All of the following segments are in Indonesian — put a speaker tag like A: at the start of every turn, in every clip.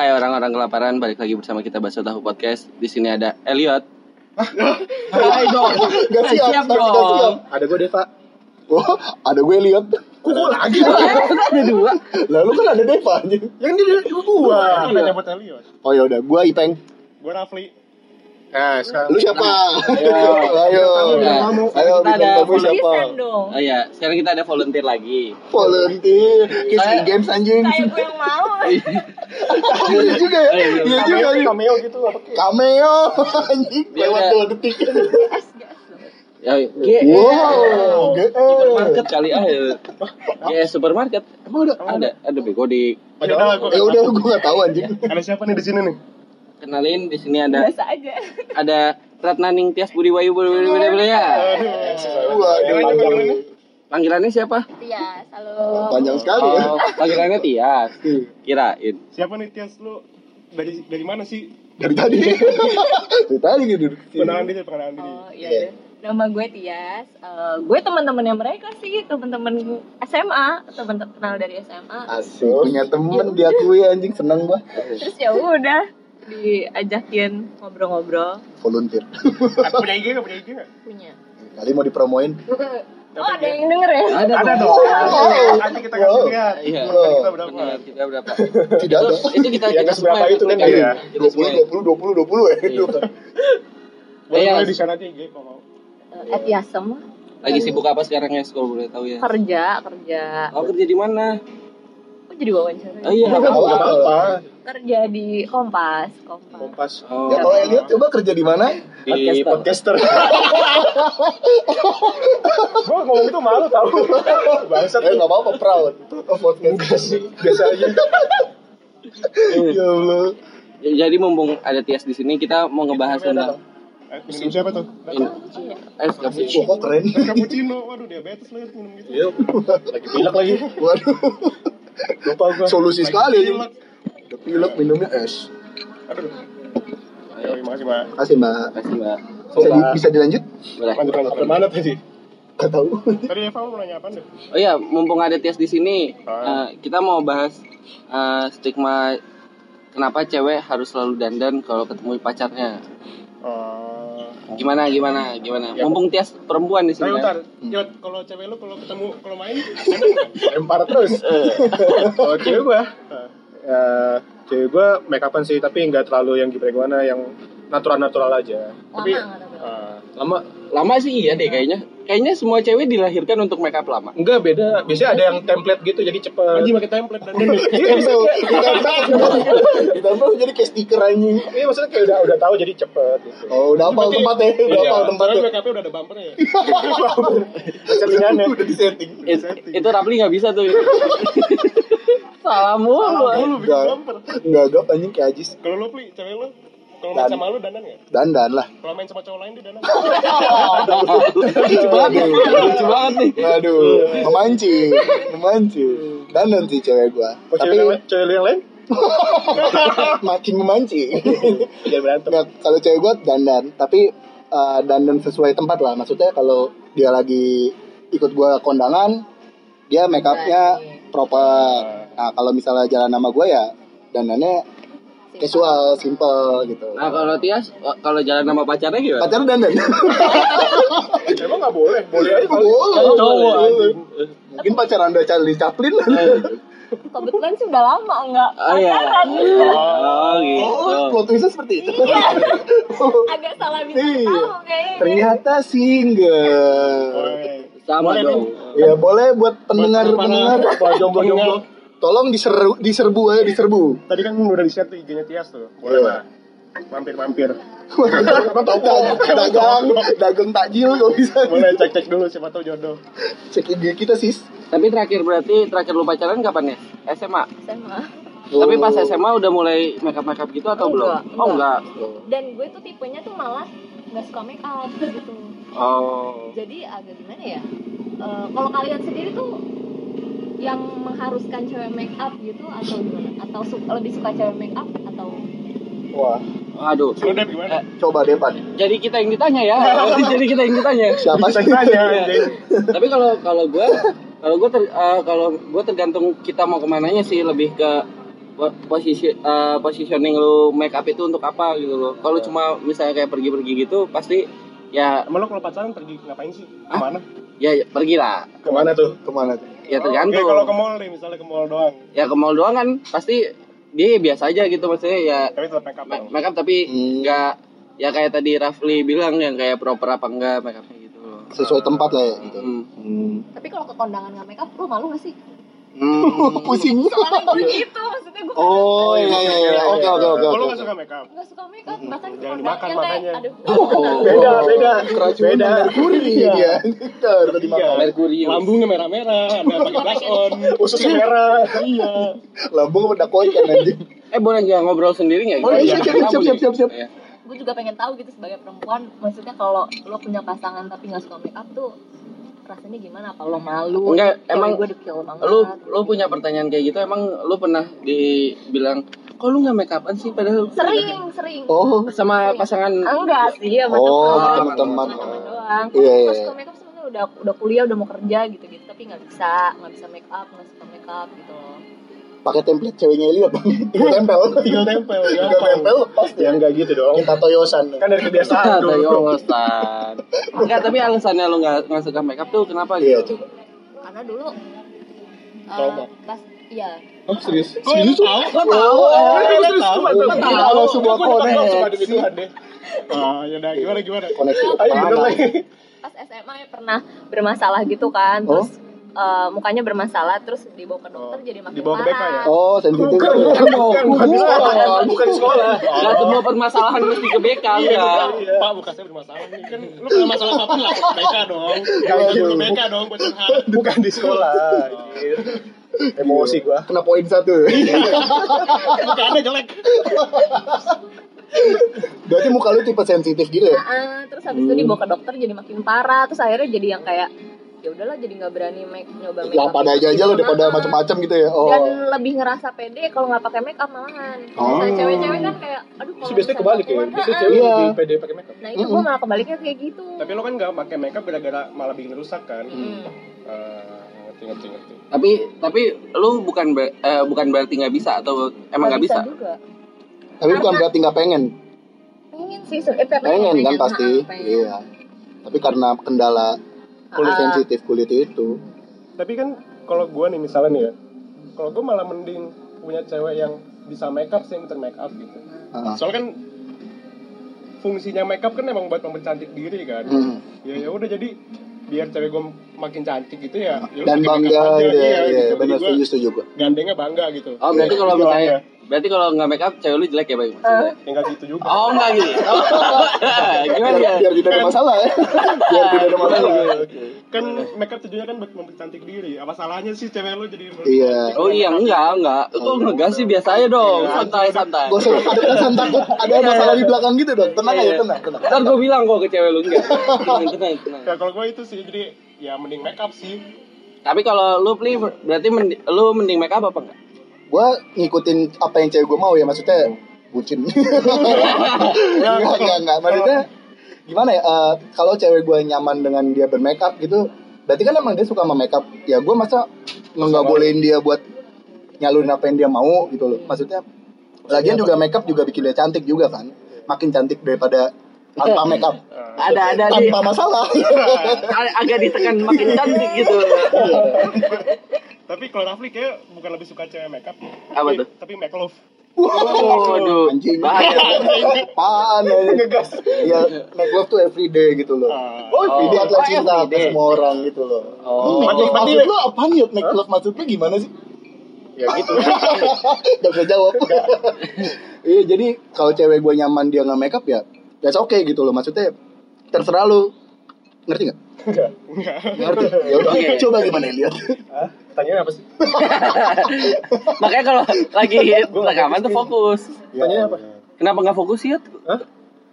A: orang kelaparan balik lagi bersama kita Baso Tahu Podcast. Di sini ada Elliot.
B: Hai dong.
C: Gak siap,
B: Siap
C: tapi gak
B: dong.
C: siap.
D: Ada gue Deva.
C: Wah, ada gue lihat.
D: Kok gue lagi?
A: ada dua.
C: Lalu kan ada Deva aja.
D: Yang di dari gue.
B: Wah,
D: Ada nyebut Elliot.
C: Oh ya udah, gue Ipeng.
D: Gue Rafli. Nah, sekarang
C: Lu siapa? Ayo, ayo.
A: bintang
D: tamu.
B: Kita
C: Ayo bintang
B: ada
C: tamu siapa?
E: Konsisten dong.
A: Oh iya, sekarang kita ada volunteer lagi.
C: Volunteer. Kiss
A: Saya-
C: games anjing.
E: Kayak gue yang mau.
C: Iya juga ya.
A: Ayo,
C: Iya juga.
D: Cameo,
C: anjing.
D: cameo gitu apa kayak?
C: Cameo anjing.
A: Dia
C: Lewat
A: udah-
C: dua detik.
A: Ya, GE.
D: Iya.
C: Wow.
A: Supermarket kali ah. GE supermarket.
C: Emang udah?
A: Ada ada bego di
D: Ya udah, gue
C: Ya udah, gue gak tahu anjing.
D: Ada siapa nih di sini nih?
A: kenalin di sini ada
E: Biasa aja.
A: ada Ratnaning Tias Budi Wayu Budi Wayu, Budi Wayu, ya.
D: Eh, Iya.
C: Wah, dia panjang.
A: Panggilannya siapa?
E: Iya, halo.
C: Panjang sekali ya.
A: Oh, panggilannya Tias. Kirain.
D: Siapa nih Tias lu? Dari dari mana sih?
C: Dari tadi. Dari tadi gitu.
D: Pengenalan diri, pengenalan diri.
E: Oh, iya. iya. Nama gue Tias. Eh, gue teman-temannya mereka sih, teman-teman SMA, teman kenal dari SMA.
C: Asik, punya temen diakui anjing seneng gua
E: Terus ya udah diajakin ngobrol-ngobrol
C: volunteer.
D: Aku punya IG gak? Punya IG gak?
E: punya.
C: Kali mau dipromoin.
E: Oh, ada yang denger ya?
A: Ada,
D: Ada
A: dong.
D: dong.
C: Wow.
D: Nanti kita kasih
C: Wow.
D: lihat.
A: Iya.
D: Teman Kita berapa?
A: Benar, kita berapa?
C: Tidak ada.
A: Terus, itu kita
D: Yang
A: kita
D: ke seberapa itu kan,
A: kita-
D: iya.
A: kita semua.
C: 20 20 20 20 ya.
A: Iya.
D: Boleh
A: Iya.
D: boleh di sana aja IG kalau mau.
E: Eh, At Yasem
A: Lagi sibuk apa sekarang ya sekolah boleh tahu ya?
E: kerja, kerja.
A: Oh kerja di mana?
E: Kok jadi wawancara?
A: Oh iya.
C: Nggak
D: Gak apa-apa.
E: Kerja di Kompas, Kompas.
D: Kompas.
A: Oh,
C: Ya kalau Elliot coba kerja di mana?
A: di podcast.
D: podcaster. Gue ngomong itu malu tau. Bangsat.
C: Eh enggak apa-apa proud. Of Oh, podcast.
D: Biasa aja.
C: Ya Allah.
A: Jadi mumpung ada Tias di sini kita mau ngebahas tentang
D: Eh, Minum siapa tuh?
A: ini. Eh,
C: Wah, kok keren.
D: Cappuccino. Waduh diabetes lu ya minum gitu.
C: Lagi pilek lagi. Waduh.
D: Lupa gue.
C: Solusi sekali anjing. Udah Pilek minumnya es.
D: Aduh. Ayo, terima kasih, Pak.
C: Kasih Mbak.
A: Kasih mbak.
C: Bisa, di- bisa dilanjut?
A: Boleh.
D: Lanjut, lanjut. Kemana tadi?
C: Gak tahu.
D: Tadi Eva mau nanya apa deh?
A: Oh iya, mumpung ada Tias di sini, eh,
D: Ah.
A: kita mau bahas eh, stigma kenapa cewek harus selalu dandan kalau ketemu pacarnya.
D: Oh.
A: Gimana gimana gimana?
D: Ya.
A: Mumpung Tias perempuan di sini. kan?
D: Ayo, bentar. Yot, kalau cewek lu kalau ketemu, kalau main, enak nggak?
F: lempar terus kalau Oh, cewek gue eh cewek gue make upan sih tapi nggak terlalu yang gimana gimana yang natural natural aja
E: Lama
F: tapi
E: nggak tapi?
F: eh, lama
A: Lama sih iya deh kayaknya. Kayaknya semua cewek dilahirkan untuk make up lama.
F: enggak beda biasanya ada yang template gitu jadi cepet Iya,
D: Anjing pakai template dan dan-
C: Ditempel, ditempel, ditempel jadi kayak stiker anjing.
F: iya maksudnya kayak udah udah tahu jadi cepet gitu
C: Oh, udah hafal tempatnya, udah hafal tempatnya.
D: Iya, Soalnya makeupnya udah ada bumpernya ya.
F: settingannya
C: Udah di setting.
A: It- itu Rapli nggak bisa tuh. Salah mulu.
D: Lu bikin bumper.
C: Enggak ada anjing kayak Ajis.
D: Kalau lu pli, cewek lu kalau main
C: Dan-
D: sama lu dandan nggak?
C: Dandan lah.
D: Kalau main sama cowok lain dia dandan.
A: Lucu banget. Lucu banget nih.
C: Aduh, memancing, memancing. Dandan sih cewek gua.
D: Oh,
F: Kok cewek,
C: Tapi
F: yang- cewek lu yang lain
C: makin memancing.
F: jangan berantem
C: Nah, kalau cewek gua dandan, tapi eh, dandan sesuai tempat lah. Maksudnya kalau dia lagi ikut gua kondangan, dia make upnya proper. Nah, kalau misalnya jalan sama gua ya dandannya casual, simple gitu.
A: Nah kalau Tias, kalau jalan sama pacarnya gimana?
C: Pacar dandan.
F: emang nggak boleh boleh aja
C: Oh,
A: cowok,
C: Mungkin pacar Anda Charlie Chaplin.
E: Kebetulan sih udah lama nggak
A: Oh iya.
E: pacaran.
A: Oh
C: Oh,
A: gitu.
C: plot twistnya seperti itu.
E: Agak salah bisa
C: Iya.
E: tahu kayaknya.
C: Ternyata single.
A: Sama dong.
C: Ya boleh buat pendengar-pendengar
F: Kalau jomblo-jomblo
C: tolong diserbu diserbu aja diserbu.
D: Tadi kan udah di share tuh IG-nya Tias tuh. Boleh
C: Iya.
D: lah. Mampir-mampir.
C: Dag- dagang dagang takjil kalau bisa.
D: Boleh cek-cek dulu siapa tahu jodoh.
C: Cek IG kita sis.
A: Tapi terakhir berarti terakhir lu pacaran kapan ya? SMA.
E: Sama.
A: Tapi
C: Oh.
A: pas SMA udah mulai makeup makeup gitu atau belum?
E: Enggak,
A: Oh enggak.
E: Dan gue tuh tipenya tuh malah nggak suka make up gitu.
A: Oh.
E: Jadi agak gimana ya? Eh, kalau kalian sendiri tuh yang mengharuskan cewek make up gitu atau gimana? Atau su- lebih suka cewek make up atau
C: Wah,
A: Aduh.
D: Lu deh gimana?
A: Eh,
C: coba depan.
A: jadi kita yang ditanya ya. jadi kita yang ditanya.
C: Siapa
D: Bisa
C: sih?
D: aja.
A: Tapi kalau kalau gue kalau gue ter- eh, kalau gue tergantung kita mau kemananya sih lebih ke po- posisi eh, positioning lu make up itu untuk apa gitu loh. Kalau lu cuma misalnya kayak pergi-pergi gitu pasti ya
D: Emang lo kalau pacaran pergi ngapain sih? Kemana?
A: ya pergi lah.
D: Kemana tuh?
C: Kemana tuh?
A: Ya
D: Oke,
A: tergantung.
D: kalau ke mall nih, misalnya ke mall doang.
A: ya ke mall doang kan pasti dia biasa aja gitu maksudnya ya
D: Tapi tetap make up.
A: ma- make up tapi
C: Hmm.
A: nggak ya kayak tadi Rafli bilang yang kayak proper apa enggak make upnya gitu loh.
C: Sesuai tempat lah ya gitu.
A: Hmm.
C: Hmm.
E: Tapi kalau ke kondangan nggak make up, lu malu gak sih?
A: Hmm.
C: Pusing.
E: Soalnya gue gitu, maksudnya gue
C: Oh iya iya iya. Oke oke oke
D: Kalau lo
C: oke.
D: nggak suka make up?
E: nggak suka make up, bahkan
D: Jangan
E: ke kondangan
D: dimakan
E: yang kayak,
D: makanya. Oh.
E: aduh,
D: Beda, beda.
C: Keracunan
D: Beda.
C: Oh, merkuri
D: Iya.
C: dia. Terus dimakan.
A: Merkurius.
D: Lambungnya merah-merah, ada pakai blush on, ususnya merah. Iya.
C: Lambung udah kocan anjing.
A: Eh boleh nggak ngobrol sendiri nggak?
C: Oh, iya, siap, siap, siap, siap, siap.
A: Iya.
E: gue juga pengen tahu gitu sebagai perempuan, maksudnya kalau lo punya pasangan tapi nggak suka make up tuh rasanya gimana? Apa lo malu?
A: Enggak,
E: Cewek
A: emang
E: gue dekil banget.
A: Lu lu punya pertanyaan kayak gitu emang lu pernah dibilang kok lu nggak make upan sih padahal lu- kan
E: sering, sering.
C: Oh.
A: sama pasangan
E: Enggak sih, sama
C: Oh,
E: teman.
A: sama teman.
E: Sama teman doang.
C: Iya, iya,
E: Kalau
C: iya.
E: suka make up sebenarnya udah udah kuliah, udah mau kerja gitu-gitu, tapi nggak bisa, nggak bisa make up, nggak suka make up gitu loh.
C: Pakai template ceweknya Eli apa? Tinggal tempel.
D: Tinggal tempel.
C: Tinggal tempel lepas
D: Ya
C: ya.
D: Iya. nggak gitu dong.
C: Minta toyosan.
D: Kan dari
A: ada
D: kebiasaan dulu.
A: yongosan enggak tapi alasannya lu nggak nggak suka make up tuh kenapa
C: Iya
A: gitu
C: coba.
E: Karena dulu eh,
D: Trauma.
E: pas iya,
C: Oh serius?
D: Serius
C: tuh?
A: Lo tahu
D: Oh.
C: Ini ada sebuah koneksi.
D: Ah, ya udah gimana gimana.
C: Koneksi
D: Ayo bener
C: pertama.
D: lagi.
E: pas SMA ya pernah bermasalah gitu kan,
C: Oh.
E: terus eh, mukanya bermasalah terus dibawa ke dokter
D: Oh,
E: jadi makin
D: dibawa ke
E: parah.
D: BK ya?
C: Oh sensitif.
D: Bukan,
F: Iya,
D: bukan, bukan, bukan di sekolah, bukan di sekolah.
A: Gak semua permasalahan mesti ke kan? BK enggak
D: Pak, bukan saya bermasalah nih. Kan lu punya masalah apa lah ke BK dong. Jangan ke BK dong buat curhat.
F: Bukan di sekolah. Emosi gua.
C: Kena poin satu.
D: Bukan ada jelek.
C: Berarti muka lu tipe sensitif gitu ya?
E: Nah, terus habis itu dibawa ke dokter jadi makin parah, terus akhirnya jadi yang kayak ya udahlah jadi nggak berani make nyoba make
C: Yang
E: up
C: Ya, pada
E: gitu.
C: aja aja lu daripada
E: Nah,
C: macam-macam gitu ya.
E: dan
D: Iya.
C: Oh.
E: lebih ngerasa pede kalau nggak pakai make up malahan kalau misalnya
C: Oh.
E: cewek-cewek kan kayak aduh kalau
F: Terus biasanya
E: misalnya
F: kebalik ya.
E: keluar,
F: Biasanya
E: ha-ha.
F: cewek
C: Iya.
F: lebih pede pakai makeup.
E: nah itu gue malah kebaliknya kayak gitu
D: Tapi lo kan nggak pakai makeup gara-gara malah bikin rusak kan.
E: Hmm.
D: Ah, ngerti ngerti ngerti.
A: tapi tapi lu bukan ber- eh, bukan berarti nggak bisa atau emang nggak bisa
E: juga
C: Tapi bukan berarti nggak pengen.
E: pengen sih se- eh, pengen,
C: Pengen kan pasti.
E: ha-ha, pengen.
C: Iya. Tapi karena kendala kulit
E: Ah.
C: sensitif kulit itu.
D: Tapi kan kalau gue nih misalnya nih ya, kalau gue malah mending punya cewek yang bisa makeup sih yang make up gitu.
C: Ah.
D: Soalnya kan fungsinya makeup kan emang buat mempercantik diri kan.
C: Hmm.
D: Ya ya udah jadi biar cewek gue makin cantik gitu ya. ya
C: Dan
D: udah,
C: bangga
D: make up aja,
C: gitu ya. Iya,
D: gitu. Jadi
C: benar
D: gua
C: setuju Ah. setuju gua.
D: Gandengnya bangga gitu.
A: oh berarti kalau
D: Iya.
A: misalnya berarti kalau nggak make up cewek lu jelek ya bayu maksudnya
D: Ya nggak gitu juga.
A: oh enggak gitu gimana ya
C: Biar, biar tidak ada masalah ya. iya. biar tidak ada masalah.
D: Kan makeup tujuannya kan buat mempercantik diri. Apa salahnya sih cewek lo jadi
C: Iya.
A: oh iya enggak enggak itu ngegas sih biasa aja dong santai santai
C: Gak usah ada perasaan takut,
E: Iya,
C: ada masalah di belakang gitu dong. Tenang aja, tenang, tenang.
A: ntar gue bilang kok ke cewek lu enggak tenang tenang tenang
D: Ya kalau gue itu sih jadi ya mending makeup sih.
A: tapi kalau lu pilih berarti mendi- lu mending make up apa enggak
C: Gue ngikutin apa yang cewek gue mau ya, maksudnya bucin. Enggak, enggak, enggak. Maksudnya gimana ya? eh, kalau cewek gue nyaman dengan dia bermake up gitu, berarti kan emang dia suka sama make up. Ya gue masa nggak bolehin dia buat nyalurin apa yang dia mau gitu loh. Maksudnya lagian juga make up juga bikin dia cantik juga kan. Makin cantik daripada tanpa make up.
A: ada ada di-
C: Tanpa masalah.
A: a- agak ditekan makin cantik gitu
D: Tapi kalau Rafli kayak bukan lebih suka cewek makeup.
A: Apa tuh?
D: Tapi make love.
A: waduh
C: Anjing.
A: bahaya
C: Apaan ya?
D: Ngegas.
C: Ya, make love tuh everyday gitu loh.
D: Ah.
C: Buatlah
A: Oh,
C: cinta ke
A: everyday.
C: semua orang gitu loh.
A: Oh.
C: Make love
D: Berarti-
C: maksud lo apa nih? Make love maksud lo gimana sih?
D: Ya gitu.
C: Gak bisa jawab. Iya, jadi kalau cewek gue nyaman dia nggak make up ya, that's okay gitu loh. Maksudnya terserah lu. Ngerti nggak? Ngerti. Ya udah,
A: Oke.
C: coba gimana lihat.
F: Hah? Pertanyaan apa sih?
A: Makanya kalau lagi rekaman tuh fokus.
F: Pertanyaan apa?
A: Kenapa nggak fokus sih? Yud?
F: Hah?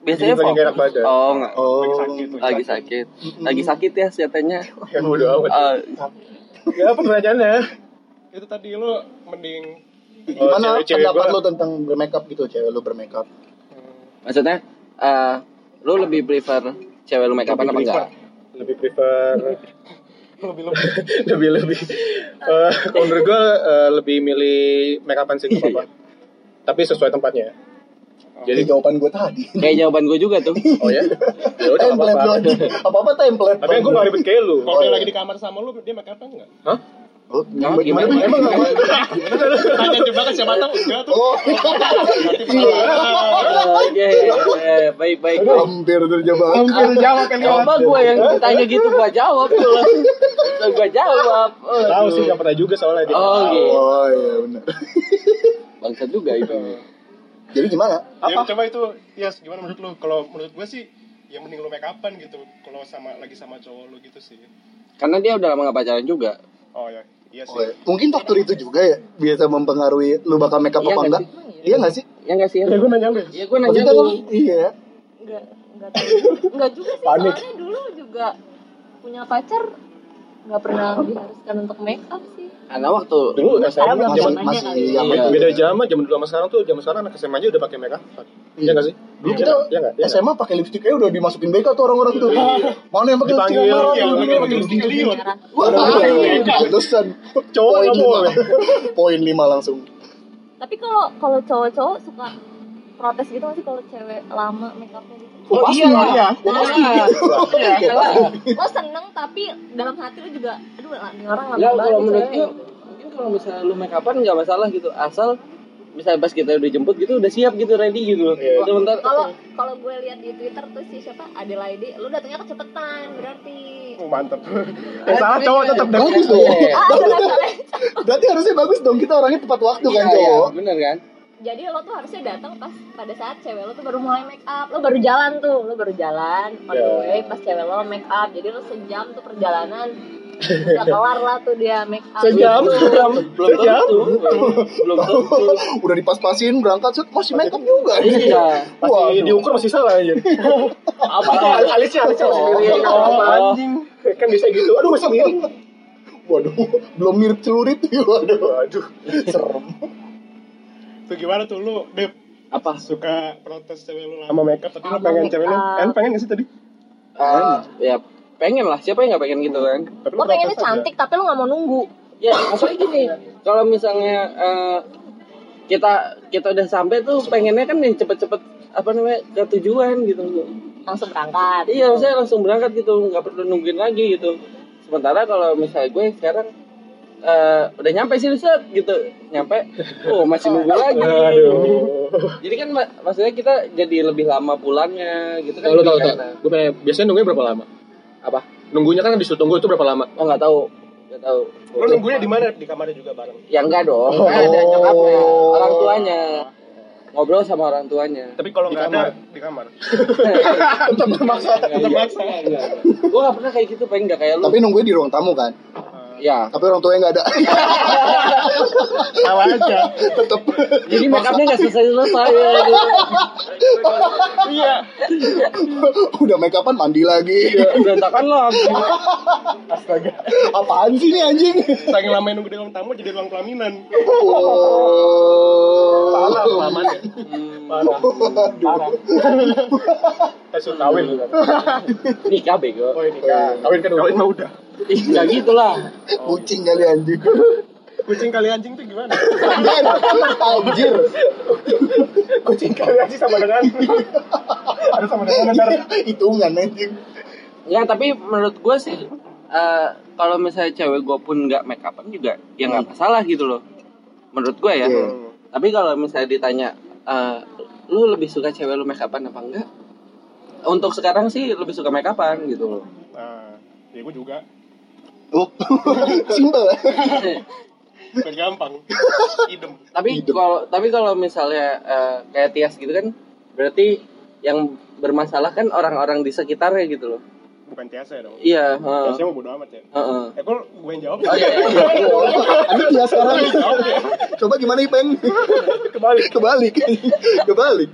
A: Biasanya
F: Lagi
A: fokus.
F: enak badan.
A: Oh, nggak.
C: Oh,
D: Lagi sakit.
A: Lagi sakit. Lagi sakit ya siatanya.
F: Ya bodo amat.
A: Eh,
F: Ya apa pertanyaannya?
D: Itu tadi lo mending
C: gimana
F: cewek-cewek
C: pendapat
F: gua-
C: lo tentang bermake up gitu, cewek lu bermake up?
A: maksudnya eh lu lebih prefer cewek lu make upan apa enggak?
F: Lebih prefer
D: lebih lebih
F: lebih lebih Eh, kalau menurut gue lebih milih make upan sih nggak apa-apa. Tapi sesuai tempatnya.
C: Jadi
F: Jadi
C: jawaban gue tadi.
A: Kayak jawaban gue juga tuh.
F: oh ya. Ya udah nggak
C: template
F: apa-apa.
C: lagi. Apa-apa template.
F: Tapi gue gak ribet kayak lu.
D: Kalau dia lagi di kamar sama lu, dia make up enggak?
C: Oh, gimana,
A: gimana?
C: gimana, emang gak boleh?
D: Tanya jebakan siapa tahu enggak tuh.
C: Oh,
A: Oke, eh, baik baik. baik.
C: hampir terjebak.
B: Hampir jawab yang
A: Coba gue yang ditanya gitu gue jawab tuh. Langsung gue jawab. Eh,
F: Tahu sih gak pernah juga soalnya dia.
A: Oh gitu.
C: Oh iya benar.
A: Bangsa juga itu.
C: Jadi gimana?
D: Ya,
C: Iya.
D: coba itu, ya gimana menurut lu? Kalau menurut gue sih, ya mending lu make upan gitu. Kalau sama lagi sama cowok lu gitu sih.
A: Karena dia udah lama gak pacaran juga.
D: Oh ya, iya sih.
C: Oh, iya. Mungkin faktor itu juga ya biasa mempengaruhi lu bakal make up
A: Iya
C: apa
A: nggak
C: enggak? Iya nggak sih?
A: Ya nggak sih?
F: Ya gue nanya lu.
A: Ya gue nanya
C: Maksudnya kan
A: lu.
C: iya.
E: Enggak, enggak tahu. Enggak juga sih,
F: Panik.
E: soalnya dulu juga punya pacar nggak pernah diharuskan untuk make up sih.
A: Karena waktu
F: Dulu SMA
E: Sekarang nggak
F: zaman
C: masih
E: kali
C: yang
A: Iya.
F: beda zaman zaman dulu sama sekarang tuh zaman sekarang anak SMA aja udah pakai make upan. Iya gak sih?
C: Dulu
F: Iya
C: kita
F: nggak? Iya nggak? Iya nggak?
C: SMA pakai lipstik aja udah dimasukin BK tuh orang-orang tuh. Mana yang pakai lipstik
F: Dipanggil,
C: merah?
D: Iya,
C: Yang
D: lu
C: pakai
D: pakai lipstick liut.
C: Wah, pantesan.
F: iya, Cowok
C: Poin
F: nggak
C: lima.
F: boleh.
C: Poin lima langsung.
E: Tapi kalau kalau cowok-cowok suka protes gitu masih kalau cewek lama make upnya gitu.
C: Oh, pasti
B: iya.
C: Oh, pasti.
A: Iya.
C: Iya.
A: Lah,
E: Lo seneng tapi dalam hati lo juga, aduh ini orang lama
A: lah, Ya,
E: banget.
A: kalau
E: nih
A: menurut
E: cewek.
A: gue mungkin kalau misalnya lu make upan nggak masalah gitu asal misalnya pas kita udah jemput gitu udah siap gitu ready gitu loh.
F: Iya.
A: Sebentar
E: kalau kalau gue lihat di Twitter tuh si siapa Adelaide, lu datangnya kecepatan berarti.
F: Oh, Mantep. Yang salah cowok gitu. tetap deh.
C: Bagus dong.
A: Iya.
E: Ah,
C: Bagus dong.
E: Adelaide.
C: Berarti harusnya bagus dong kita orangnya tepat waktu kan
A: Iya, iya,
C: cowok.
A: bener kan?
E: Jadi lo tuh harusnya datang pas pada saat cewek lo tuh baru mulai make up, lo baru jalan tuh, lo baru jalan on the
F: Iya.
E: way pas cewek lo make up, jadi lo sejam tuh perjalanan udah kelar lah tuh dia make up.
F: Sejam?
A: Belum belum
F: Sejam?
A: tentu. Belum tentu.
C: Udah dipas-pasin berangkat set masih make up juga.
A: Iya.
C: Wah,
F: Pasti diukur masih salah aja.
A: Apa
F: Al- Alisnya alisnya masih miring.
A: Oh.
F: Anjing. Kan bisa gitu. Aduh masih miring.
C: Waduh, belum mirip celurit ya, waduh.
F: Waduh.
C: Serem.
D: Itu gimana tuh lu, Dep?
A: Apa?
D: Suka protes cewek lu
F: Sama
D: lama.
F: makeup tapi lu
E: Sama
F: pengen
E: make
F: cewek lu.
E: up.
F: Eh lu pengen gak sih tadi?
A: Ah, ya pengen lah. Siapa yang nggak pengen gitu kan?
F: Tapi lu
E: Lo Oh, pengennya
F: protes aja.
E: cantik tapi lo nggak mau nunggu.
A: Ya maksudnya gini. Kalau misalnya eh, kita kita udah sampai tuh pengennya kan yang cepet-cepet apa namanya ke tujuan gitu.
E: Langsung berangkat.
A: Iya, saya langsung berangkat gitu, nggak perlu nungguin lagi gitu. Sementara kalau misalnya gue sekarang eh, udah nyampe sini set gitu, nyampe, oh masih nunggu lagi.
F: Aduh.
A: Jadi kan mak- maksudnya kita jadi lebih lama pulangnya gitu kan.
F: Tahu tahu
A: lebih
F: tahu.
A: enak.
F: Gue pengen biasanya nunggunya berapa lama?
A: Apa?
F: Nunggunya kan disuruh tunggu itu berapa lama?
A: Oh nggak tahu, nggak tahu.
D: Lu nunggunya di mana? Di kamarnya juga bareng.
A: Ya enggak dong,
F: Oh.
A: Kan ada nyokapnya, orang tuanya. Ngobrol sama orang tuanya.
D: Tapi kalau
F: Di
D: nggak
F: kamar.
D: ada di kamar.
F: Tetap termaksa.
D: Tetap maksa.
A: Gue gak Iya. pernah kayak gitu, pengen gak kayak lu.
C: Tapi nungguin di ruang tamu kan.
A: Ya,
C: Tapi orang tuanya nggak ada.
F: Iya,
D: Tawa aja.
C: Tetep.
A: jadi makeupnya gak selesai-selesai. ya, gitu.
D: Iya.
C: Udah make upan mandi lagi.
F: Iya.
A: Ya, Berantakan lah.
C: Apaan sih nih anjing?
D: Saking lama nunggu di ruang tamu jadi ruang pelaminan.
C: Wow.
F: Parah kelamaan ya. Parah. Parah. Kan suruh kawin lu kan.
A: Nikah bego.
F: Oh ini kan. Kawin kan kawin mah udah.
A: Ih, nggak gitu lah.
C: Kucing kali anjing.
D: Kucing kali anjing tuh gimana?
C: Anjir.
F: Kucing kawin aja sama dengan. Ada sama
D: Nah.
F: dengan ntar.
C: Hitungan anjing.
A: Nggak, Ya, tapi menurut gue sih, eh, kalau misalnya cewek gue pun nggak make upan juga, ya nggak masalah gitu loh. Menurut gue ya.
C: Iya.
A: Tapi kalau misalnya ditanya, eh, lu lebih suka cewek lu make upan apa enggak? Untuk sekarang sih lebih suka make upan gitu loh.
D: Nah, ya gue juga.
C: Oh. Simple.
D: Biar gampang. Idem.
A: tapi kalau tapi kalau misalnya eh, kayak Tias gitu kan, berarti yang bermasalah kan orang-orang di sekitarnya gitu loh.
D: Bukan Tiasa ya dong.
A: Iya. heeh.
D: Tiasa mau bodo amat ya.
A: Heeh.
D: Eh, kok gue yang jawab?
C: Aduh dia sekarang. Coba gimana Ipeng?
F: Kebalik.
C: Kebalik. Kebalik.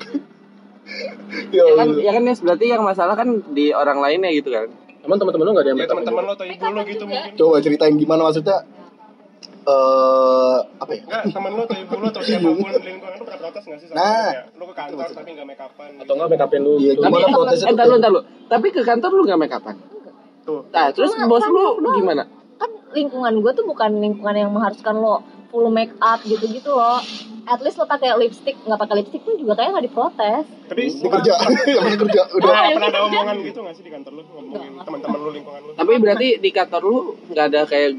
C: Ya
A: Ya kan,
C: Allah.
E: iya.
A: ya kan Nes, berarti yang masalah kan di orang lainnya gitu kan.
F: Emang teman-teman lu nggak ada yang
D: Ya
F: bertemu?
D: teman-teman lo atau ibu
E: kan
D: lo gitu mungkin.
C: Coba ceritain gimana maksudnya eh apa ya?
D: Enggak, teman lo atau ibu lo atau siapapun lingkungan lo pernah protes nggak sih sama
C: Nah.
D: kayak lu ke kantor tapi nggak make upan gitu?
F: atau nggak make upin lu?
C: Iya,
F: Lu-
A: Tapi
C: Gimana
A: eh,
C: protesnya
A: entar lu entar lu. Tapi ke kantor lu gak make upan.
D: Tuh.
A: Nah, terus
E: Enggak,
A: bos
E: kan
A: lu
E: doang.
A: gimana?
E: kan lingkungan gue tuh bukan lingkungan yang mengharuskan lo full make up gitu-gitu loh. At least lo pakai lipstick, nggak pakai lipstick pun juga kayak nggak diprotes.
D: Tapi
C: Ini kerja, yang penting kerja udah.
D: Udah
E: Ah, yang
D: pernah ada
E: kerja.
D: omongan gitu gak sih di kantor lu ngomongin teman-teman lu lingkungan lu?
A: Tapi berarti di kantor lu nggak ada kayak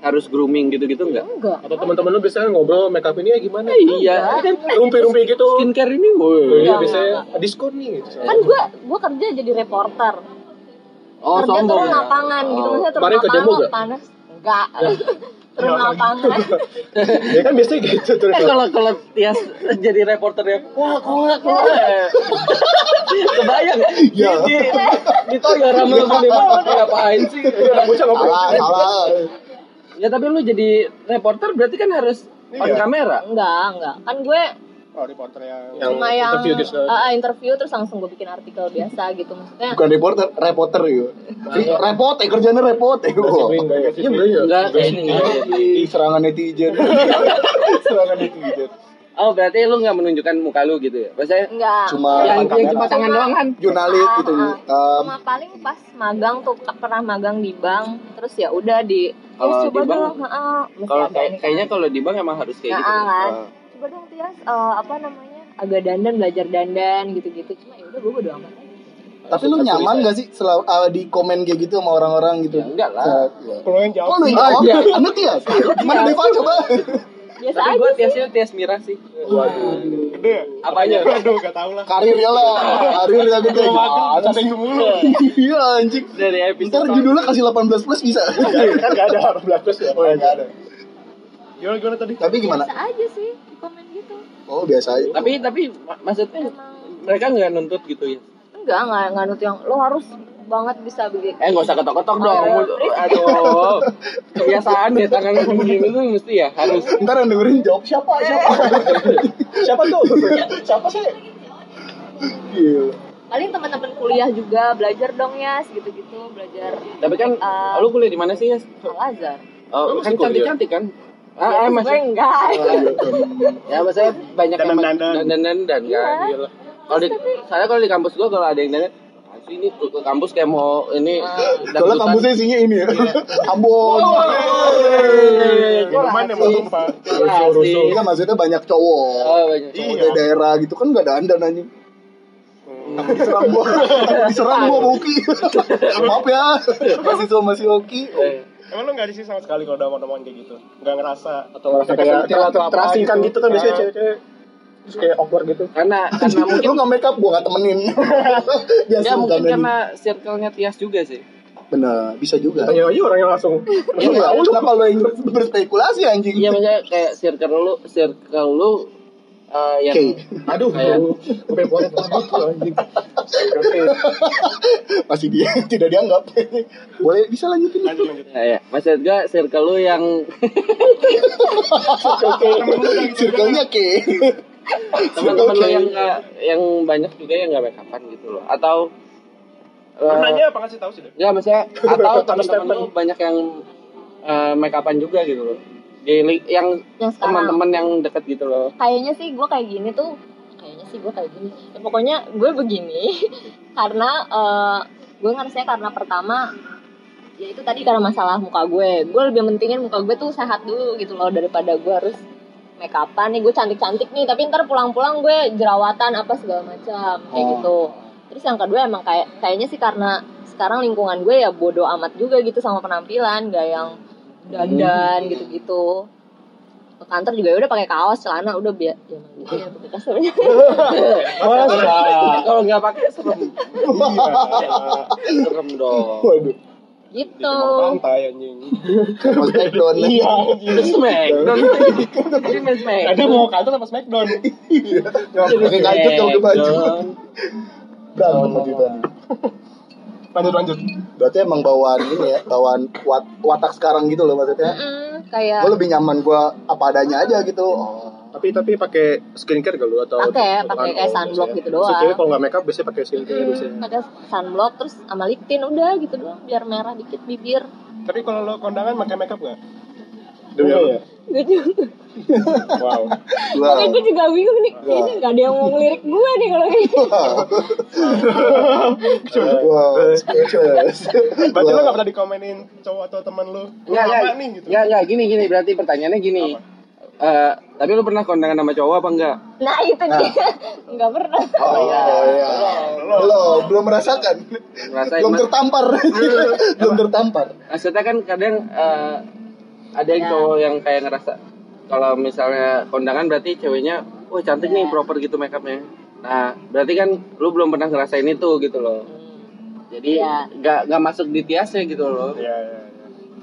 A: harus grooming gitu-gitu nggak?
E: Enggak.
F: Atau teman-teman lu biasanya ngobrol make up ini ya gimana?
A: Iya, kan
F: Rumpi-rumpi gitu.
A: skincare ini
F: Oh,
A: woi.
F: Iya, biasanya diskon nih gitu.
E: Kan gue gue kerja jadi reporter.
A: Oh,
E: kerja turun
A: sombong.
E: lapangan gitu, maksudnya turun
F: Kemarin kerja
E: lapangan
F: mau
E: lo
F: nggak?
E: panas. Enggak. turun lapangan.
F: Ya kan biasanya gitu terus.
A: Eh kalau kalau Tias jadi reporter ya, wah kuat kuat. Eh. Kebayang
C: Iya.
A: di di, di toyor sama gede banget ngapain sih?
F: Bocah ngobrol.
C: Salah, salah.
A: Ya tapi lu jadi reporter berarti kan harus on
D: Iya.
A: kamera.
E: Enggak, enggak. Kan gue
D: Oh, reporter yang
F: Yang
E: cuma yang
F: interview gitu segala.
E: ah, ah, interview terus langsung gue bikin artikel biasa gitu maksudnya.
C: Bukan reporter, reporter gitu. Repot, eh kerjanya repot, eh
F: Kasih
C: gua.
F: bring, guys. Iya, bro, iya.
A: Enggak kayak ini.
C: Ih, serangan netizen. serangan netizen.
A: Oh berarti lu nggak menunjukkan muka lu gitu ya? Maksudnya eh,
E: Enggak.
C: Cuma
A: yang, yang cuma
C: kamera.
A: tangan doang kan?
C: jurnalis gitu.
E: Ah,
C: Um,
E: Cuma paling pas magang tuh ke- pernah magang di bank, terus ya udah di
A: Kalau
E: Terus
A: di
E: coba
A: bank-
E: dong, heeh, mesti
A: Kalau
E: ada
A: kayak-
E: ini.
A: kayaknya kalau di bank emang harus kayak gitu.
E: Nah, kan.
A: Ah.
E: Coba dong Tias eh, apa namanya? agak dandan belajar dandan gitu-gitu. Cuma ya udah gue bodo amat. aja.
C: tapi lu nyaman gak sih selalu ah, di komen kayak gitu sama orang-orang gitu?
A: Ya, enggak lah.
C: Saat- ya.
D: Kalau yang
C: Oh
D: jawab
C: lu
A: Ah, iya.
C: iya, anu Tias. Gimana Deva coba?
E: Biasa
A: Tapi
E: aja.
A: gue tiasnya tias mirah sih.
F: Waduh.
D: gede ya?
A: Apanya?
D: Aduh, gak tau lah.
C: Karirnya lah, karirnya gitu.
D: Gua makan
C: Gimana sih?
D: cacing mulu.
C: Iya anjing.
A: Dari
C: Ntar
A: episode.
C: judulnya kasih 18 plus bisa.
F: Kan enggak ada 18 plus ya.
D: iya.
C: Oh, enggak ada.
D: Gimana gimana tadi?
C: Tapi gimana?
E: Biasa aja sih di komen gitu.
C: Oh biasa aja.
A: Tapi tapi mak- maksudnya
E: Emang
A: mereka nggak nuntut gitu ya?
E: enggak enggak enggak nut yang lo harus banget bisa begini.
A: Eh nggak usah ketok-ketok
E: Oh,
A: dong.
E: iya.
A: Mul- Aduh. Kebiasaan deh tangan begini tuh mesti ya harus.
C: Ntar yang dengerin jawab siapa siapa.
F: Siapa tuh? Siapa sih?
C: Gila.
E: Paling teman-teman kuliah juga belajar dong ya, gitu-gitu belajar
A: Tapi kan
E: Ah.
A: lu kuliah di mana sih ya?
E: Al Azhar.
A: Oh,
F: Lu
A: kan
F: masih kuliah?
A: cantik-cantik kan?
E: Ya,
A: Ah, ah,
E: terus gue
A: masih.
E: enggak.
A: Ya maksudnya banyak yang
D: Dandan-dandan.
A: dandan-dandan kan.
E: Iya.
F: Iyalah.
A: Kalau di saya kalau di kampus gua kalau ada yang dandan, "Ah, sih ini ke ke kampus kayak mau ini.
C: Soalnya kamu saya isinya ini ya. Ambon.
A: Iya,
D: Minuman yang mau tumpah.
A: Rusuh-rusuh.
C: Iya maksudnya banyak cowok.
A: Ah, Oh, banyak.
C: Cowok
F: Iya.
C: dari daerah gitu kan gak ada andan anjing.
F: Hmm.
C: Aku diserang gua. Aku diserang gua sama Uki. Maaf ya. Mahasiswa masih Uki.
A: Eh,
D: Emang lu gak ada sih sama sekali kalau udah omongan kayak gitu? Gak ngerasa
F: Atau ngerasa kayak
C: Ter- ter-
F: terasingkan
C: gitu.
F: gitu kan biasanya cewek-cewek. Terus kayak awkward gitu.
A: Karena karena mungkin
C: Lu gak make up gua gak temenin. Biasa
A: ya mungkin
C: bercanda
A: karena circle-nya Tias juga sih.
C: nih. Bener, bisa juga.
F: Tanya aja orang yang langsung.
C: Iya, kenapa lu yang berspekulasi anjing?
A: Iya maksudnya kayak circle lu, circle lu eh, yang
C: Oke.
F: Aduh,
A: Kayak-
F: gue pengen ponet lagi tuh anjing. Oke.
C: Masih dia tidak dianggap. Boleh bisa lanjutin.
D: lanjut lanjut.
A: ya, ya. maksud gue circle lu yang
F: Oke.
D: gitu kan?
C: Circle-nya ke.
A: teman-teman lu
C: Oke.
A: yang nggak- yang banyak juga yang nggak make upan gitu loh atau
D: Lu
A: eh,
D: nanya apa ngasih tahu sih? Dek?
A: nggak maksudnya atau
F: Tanpa
A: teman-teman lu banyak yang eh, make upan juga gitu loh Jadi yang
E: Yang sekarang
A: teman-teman yang deket gitu loh
E: kayaknya sih gue kayak gini tuh kayaknya sih gue kayak gini Ya, pokoknya gue begini karena eh, gue ngerasa karena pertama ya itu tadi karena masalah muka gue gue lebih mentingin muka gue tuh sehat dulu gitu loh daripada gue harus make upan nih gue cantik cantik nih tapi ntar pulang-pulang gue jerawatan apa segala macam kayak
C: Oh.
E: gitu terus yang kedua emang kayak kayaknya sih karena sekarang lingkungan gue ya bodoh amat juga gitu sama penampilan gak yang dandan gitu-gitu ke kantor juga ya udah pakai kaos celana udah biar ya emang gitu ya pakai kasur
D: Iya.
C: Ah.
A: kalau nggak pakai serem serem dong
C: Waduh.
E: gitu
D: Mau pantai anjing.
C: Mas Backdown.
D: Iya anjing.
A: Smackdown Ini main smackdown.
D: Ada mau kantor sama Smackdown.
A: Iya,
C: Pakai kacut dong ke baju.
A: Smackdown.
C: Berantem tadi tadi.
D: Lanjut lanjut.
C: Berarti emang bawaan ini ya, bawaan wat- watak sekarang gitu loh maksudnya.
E: Mm, kayak
C: Gue lebih nyaman gue apa adanya aja gitu. Iya. Oh.
F: Tapi tapi pakai skincare gak lu atau?
E: Pakai, pakai kayak sunblock gitu doang.
F: Biasanya cewek kalau nggak makeup biasanya pakai skincare biasanya.
E: mm, pakai sunblock terus sama lip tint udah gitu doang biar merah dikit bibir
D: Tapi kalau lo kondangan pakai makeup gak?
F: Demi apa?
E: gue juga
F: Wow.
E: Makanya gue juga bingung nih
C: Wah.
E: kayaknya nggak ada yang mau ngelirik gue nih kalau kayak gitu. gini
C: Wow, speechless.
D: Berarti lo
C: Wah.
D: gak pernah dikomenin cowok atau teman lo? Lo
A: Enggak,
C: Iya,
D: apa
A: enggak.
D: nih gitu?
A: Enggak, enggak. ya, Gini, gini. Berarti pertanyaannya gini. Eh, tapi lu pernah kondangan sama cowok apa enggak?
E: nah itu dia nggak pernah
C: Oh iya.
D: Belum.
C: Belum, belum merasakan.
A: Merasain,
C: belum
A: Mas.
C: tertampar. belum tertampar.
A: Maksudnya kan kadang eh, ada yang
E: Ya.
A: cowok yang kayak ngerasa kalau misalnya kondangan berarti ceweknya, wah cantik nih
E: Ya.
A: proper gitu make upnya. Nah, berarti kan lu belum pernah ngerasain itu gitu loh. Jadi
E: Ya.
A: nggak nggak masuk di tiasnya gitu loh.
D: Iya, iya, iya.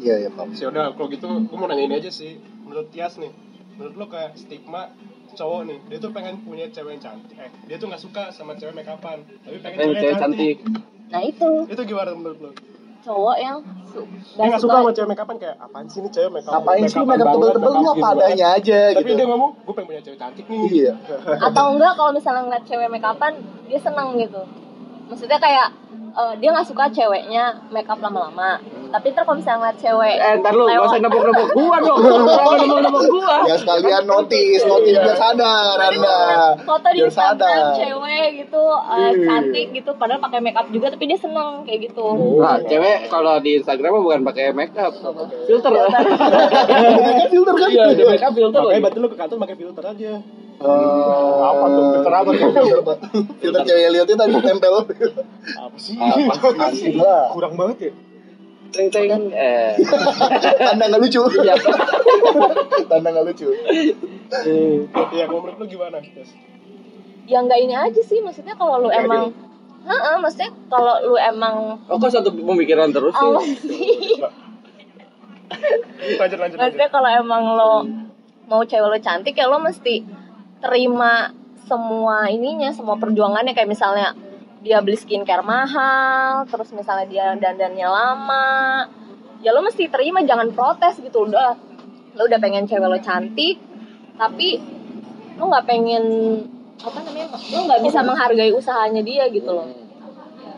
C: Iya, iya, Pak.
D: Sih udah, kalau gitu gue mau nanya ini aja sih. Menurut Tias nih, menurut lo kayak stigma cowok nih, dia tuh pengen punya cewek yang cantik. Eh, dia tuh gak suka sama cewek make upan, tapi pengen
A: Eh,
D: cewek
A: cewek cantik.
D: cantik.
E: nah itu
D: Itu gimana menurut lo?
E: cowok yang su-
D: Dia gak suka sama cewek make upan kayak apaan sih nih cewek make upan?
C: Ngapain sih
D: make
C: lu makeup
D: upan banget,
C: tebel-tebel lu
D: make up
C: apa
D: gitu
C: adanya aja
D: banget. Tapi
C: gitu.
D: dia ngomong, gue pengen punya cewek cantik nih.
C: Iya.
E: atau enggak kalau misalnya ngeliat cewek make upan dia seneng gitu maksudnya kayak eh, dia nggak suka ceweknya make up lama-lama tapi ntar kalau misalnya ngeliat cewek
A: Eh, ntar lu nggak usah
E: lewat-
A: nepok-nepok gua dong. Kenapa nepok-nepok gua?
C: Ya sekalian notice, notice biar sadar
E: Tadi
C: Anda.
E: beneran foto di
C: Biar
E: Instagram
C: sadar.
E: cewek gitu
A: Iya.
E: eh, cantik gitu padahal pakai make up juga tapi dia seneng kayak gitu
A: Nah, cewek kalau di Instagram mah bukan pakai makeup, filter.
C: Kan filter kan.
A: Iya, di makeup filter.
D: Makanya berarti lo ke kantor pakai filter aja.
C: Eh,
D: Apa tuh? Filter apa tuh?
C: Filter, Pak. Filter cewek lihatnya tadi tempel.
D: Apa sih?
A: Apa sih?
F: Kurang banget ya.
A: Ceng ceng. Eh.
C: Tanda nggak lucu.
A: Iya.
C: Tanda nggak lucu.
D: Iya, kalau menurut lo gimana? Tias?
E: ya nggak ini aja sih maksudnya kalau lu emang Heeh, maksudnya kalau lu emang
A: Oh, kok satu pemikiran terus sih?
E: awas sih
D: Lanjut, lanjut, lanjut.
E: maksudnya kalau emang lo mau cewek lo cantik ya lo mesti terima semua ininya semua perjuangannya kayak misalnya dia beli skincare mahal terus misalnya dia dandannya lama ya lo mesti terima jangan protes gitu udah lo udah pengen cewek lo cantik tapi lo nggak pengen apa namanya lo nggak bisa menghargai usahanya dia gitu loh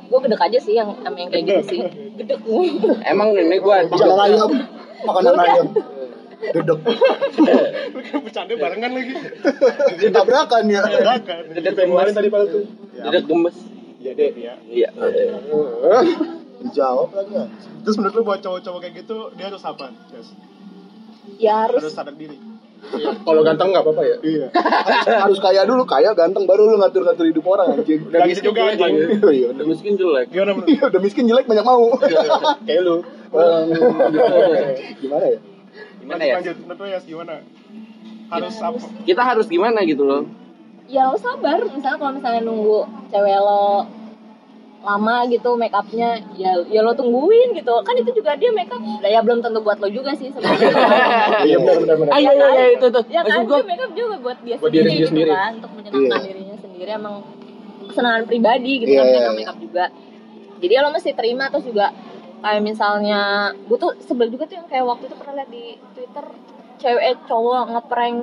E: gue gedek aja sih yang sama yang kayak gitu sih gedek
A: Emang ini gua
C: Makanan ayam. Makanan ayam. Dedek.
D: Bercanda barengan lagi. kan.
C: Tabrakan ya.
D: Tabrakan.
A: Dedek
F: Kemarin
A: gemes.
F: tadi pada tuh.
A: Dedek gemes.
F: Iya deh.
D: Iya.
A: Iya.
C: Dijawab lagi. ya.
D: Terus menurut lu buat cowok-cowok kayak gitu dia harus apa? Yes.
E: ya
D: Harus
E: harus
D: sadar diri.
F: Kalau ganteng nggak apa-apa ya.
D: Iya.
C: Eh, Harus kaya dulu, kaya ganteng baru lu ngatur-ngatur hidup orang anjing.
A: Udah
D: Lagi
A: miskin
D: juga, Nah,
A: jelek
D: anjing.
A: lagi.
C: Iya,
A: Udah
C: udah-
A: miskin jelek.
D: Gimana menurut?
C: iya, udah miskin jelek banyak mau.
F: Kayak lu.
C: Gimana ya?
A: Gimana ya?
D: Lanjut, menurut lu Yes gimana? Harus apa?
A: Kita harus gimana gitu loh?
E: ya lo sabar misalnya kalau misalnya nunggu cewek lo lama gitu make upnya ya ya lo tungguin gitu kan itu juga dia make up lah ya belum tentu buat lo juga sih sebenarnya
F: Iya benar benar benar.
A: Ah, iya, iya, iya, itu tuh.
E: ya
A: Maksud
E: kan
A: gua,
E: dia make up juga buat dia
F: Buat
E: sendiri
F: diri dia
E: gitu
F: sendiri.
E: kan untuk menyenangkan
C: Iya.
E: dirinya sendiri emang kesenangan pribadi gitu
C: Iya,
E: kan
C: iya,
E: make up
C: iya.
E: make up juga jadi ya lo mesti terima terus juga kayak misalnya gue tuh sebel juga tuh yang kayak waktu itu pernah liat di twitter cewek eh, cowok ngeprank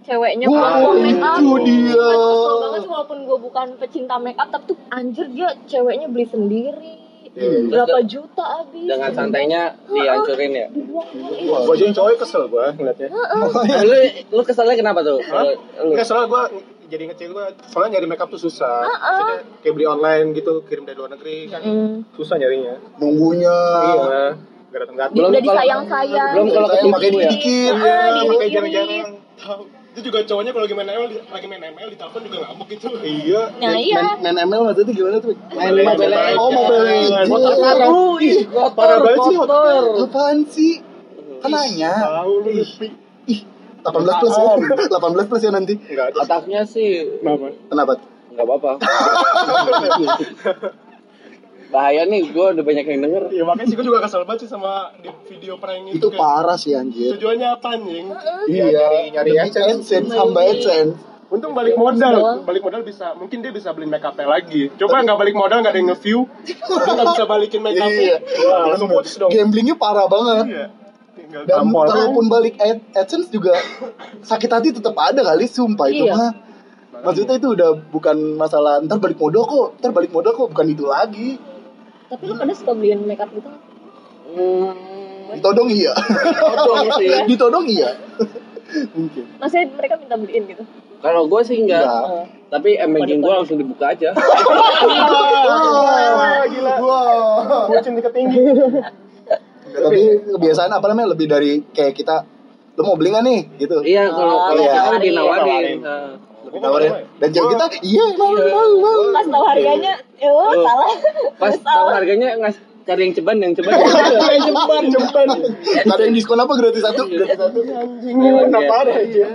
E: ceweknya
C: Wah,
E: pakai make up
C: itu dia.
E: Gue kesel banget sih, walaupun gue bukan pecinta make up tapi tuh anjir dia ceweknya beli sendiri
F: Iya.
E: berapa juta abis
A: Dengan santainya dihancurin ya.
E: Dibuang-buang. Iya.
F: Gua aja yang cowoknya kesel gua ngeliatnya.
A: Nah, lu lu keselnya kenapa tuh? Kalau Lu.
F: Enggak soalnya gue jadi ngecek gue soalnya nyari makeup tuh susah. Maksudnya kayak beli online gitu kirim dari luar negeri kan
E: Mm.
F: susah nyarinya.
C: Nunggunya.
F: Iya. Gak datang datang.
A: Belum
E: udah
A: kalau-
E: disayang-sayang
A: belum kalau
C: Saya
A: ketemu
C: pakai dikit.
E: Ah,
C: ya.
E: di-
F: Pakai
E: Iya.
F: jarang-jarang.
D: Tahu. Itu juga cowoknya kalau lagi main ML, di- lagi main ML di telepon juga ngamuk gitu.
F: Iya.
E: nah
C: Main-
E: iya
C: Main ML maksudnya gimana tuh?
A: Main Mobile Legends.
C: Oh, Mobile Legends.
A: Motor satu, ih, kotor,
F: Parah banget sih,
A: kotor.
C: Apaan sih? Kan nanya.
D: Tahu lu Lutfi.
C: 18 plus ya. 18 plus ya nanti.
F: Enggak ada.
A: Otaknya sih
D: Kenapa?
C: Kenapa?
A: nggak apa-apa. Bahaya nih, gua udah banyak yang denger.
D: Ya makanya sih gue juga kesel banget sih sama di video prank itu.
C: Itu
D: kayak,
C: parah sih anjir.
D: Tujuannya apa anjing?
C: Iya,
F: nyari- nyari
C: demi
F: AdSense.
C: AdSense, hamba AdSense.
D: Untung balik modal, balik modal bisa, mungkin dia bisa beli make up lagi. Coba nggak balik modal nggak ada yang nge-view, dia nggak bisa balikin make up.
C: Iya.
F: Wah, langsung putus dong.
C: Gamblingnya parah banget.
D: Iya. Tinggal
C: Dan
F: Gampol.
C: kalaupun balik Ad- AdSense juga sakit hati tetap ada kali sumpah itu
E: Iya.
C: mah. Maksudnya itu udah bukan masalah ntar balik modal kok, ntar balik modal kok bukan itu lagi.
E: tapi lu pada suka beliin makeup gitu
A: Hmm,
E: gue
C: ditodong iya
A: Todong sih.
C: ditodong iya mungkin
E: maksudnya mereka minta beliin gitu
A: Kalau gue sih enggak,
C: Enggak.
E: Oh.
A: tapi emerging gue langsung dibuka aja.
C: Wah, gila. Wah.
F: Bucin tingkat tinggi.
C: Tapi kebiasaan apa namanya lebih dari kayak kita lu mau beli nggak nih gitu.
A: Iya, kalau
E: Oh,
A: kalau
C: iya.
A: kita lebih
E: Nawarin.
A: nawarin. Nah,
C: Lebih tawarin. Dan cewek kita iya mau mau mau.
E: pas tahu harganya eh
A: Oh.
E: oh, salah
A: Pas tahu harganya ngas cari yang ceban, yang ceban. Iya,
D: Iya,
F: Cepat, cepat.
C: Ada yang diskon apa gratis satu? Iya, Gratis satu.
F: Anjing, kenapa ada aja?
A: iya.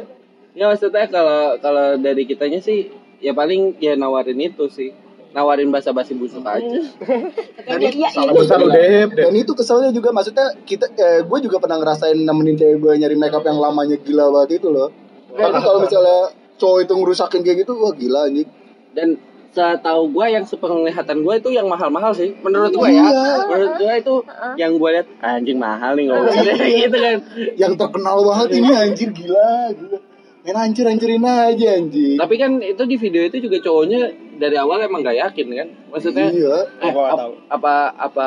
A: ya maksudnya kalau kalau dari kitanya sih ya paling ya nawarin itu sih. Nawarin basa-basi busuk aja.
E: Tapi dia iya
F: Salah
E: iya.
F: besar lu deh, deh.
C: Dan itu keselnya juga maksudnya kita eh, gue juga pernah ngerasain nemenin cewek gue nyari makeup yang lamanya gila banget itu loh. Tapi kalau misalnya cowok itu ngerusakin kayak gitu, wah gila anjing.
A: Dan setahu gue yang sepenglihatan gue itu yang mahal-mahal sih. Menurut gue ya.
C: Iya.
A: Menurut gue itu yang gue lihat anjing mahal nih ngomong
C: Iya.
A: gitu kan.
C: Yang terkenal banget ini anjir gila, gila. Main anjir anjirin aja anjing.
A: Tapi kan itu di video itu juga cowoknya dari awal emang gak yakin kan. Maksudnya
C: Iya.
A: eh,
F: Gua nggak
A: ap-
F: tahu.
A: apa apa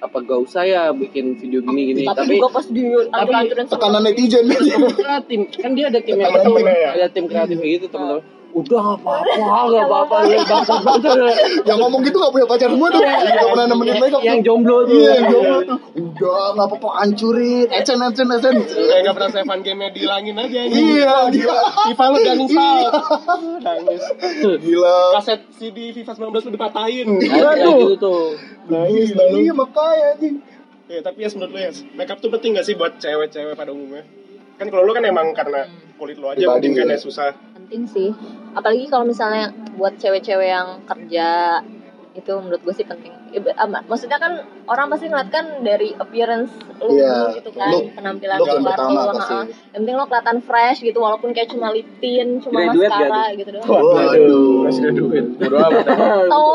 A: apa gak usah ya bikin video gini gini
E: tapi
A: tapi,
E: juga pas di aturan
C: Tekanan netizen
A: Kan tim kan dia ada tim yang
F: Temen
A: itu
F: temennya ya?
A: ada tim kreatif kayak gitu teman-teman
C: Iya.
A: udah nggak apa-apa nggak apa-apa lu bangsat banget
C: yang ngomong gitu gak punya pacar gue tuh gak pernah nemenin mereka
A: Iya, yang gitu.
C: tuh.
A: jomblo tuh
C: iya yang jomblo tuh udah gak apa-apa hancurin ecen ecen ecen
D: Kayak gak pernah save game-nya dihilangin aja ini.
C: iya gila
D: FIFA lu udah install. Nangis.
C: Iya. gila
D: Kaset CD FIFA 19 lu dipatahin.
A: Nah, kayak gitu tuh
C: nangis iya makanya anjing
D: Ya, tapi ya menurut lu ya, makeup tuh penting gak sih buat cewek-cewek pada umumnya? Kan kalau lu kan emang karena kulit lu aja
C: Pribadi,
D: mungkin kan
C: ya.
D: ya susah.
E: penting sih apalagi kalau misalnya buat cewek-cewek yang kerja itu menurut gue sih penting Iba- ama- maksudnya kan orang pasti ngeliat kan dari appearance lu dulu
C: Iya,
E: gitu kan
C: look-
E: penampilan
C: look yang
E: luar
C: pertama
E: lu,
C: pasti.
E: ha-ha. yang penting lo kelihatan fresh gitu walaupun kayak cuma lip tint cuma
A: Graduate gak
E: maskara gitu doang
C: waduh
F: Masih ada duit.
A: Bodo amat.
E: tol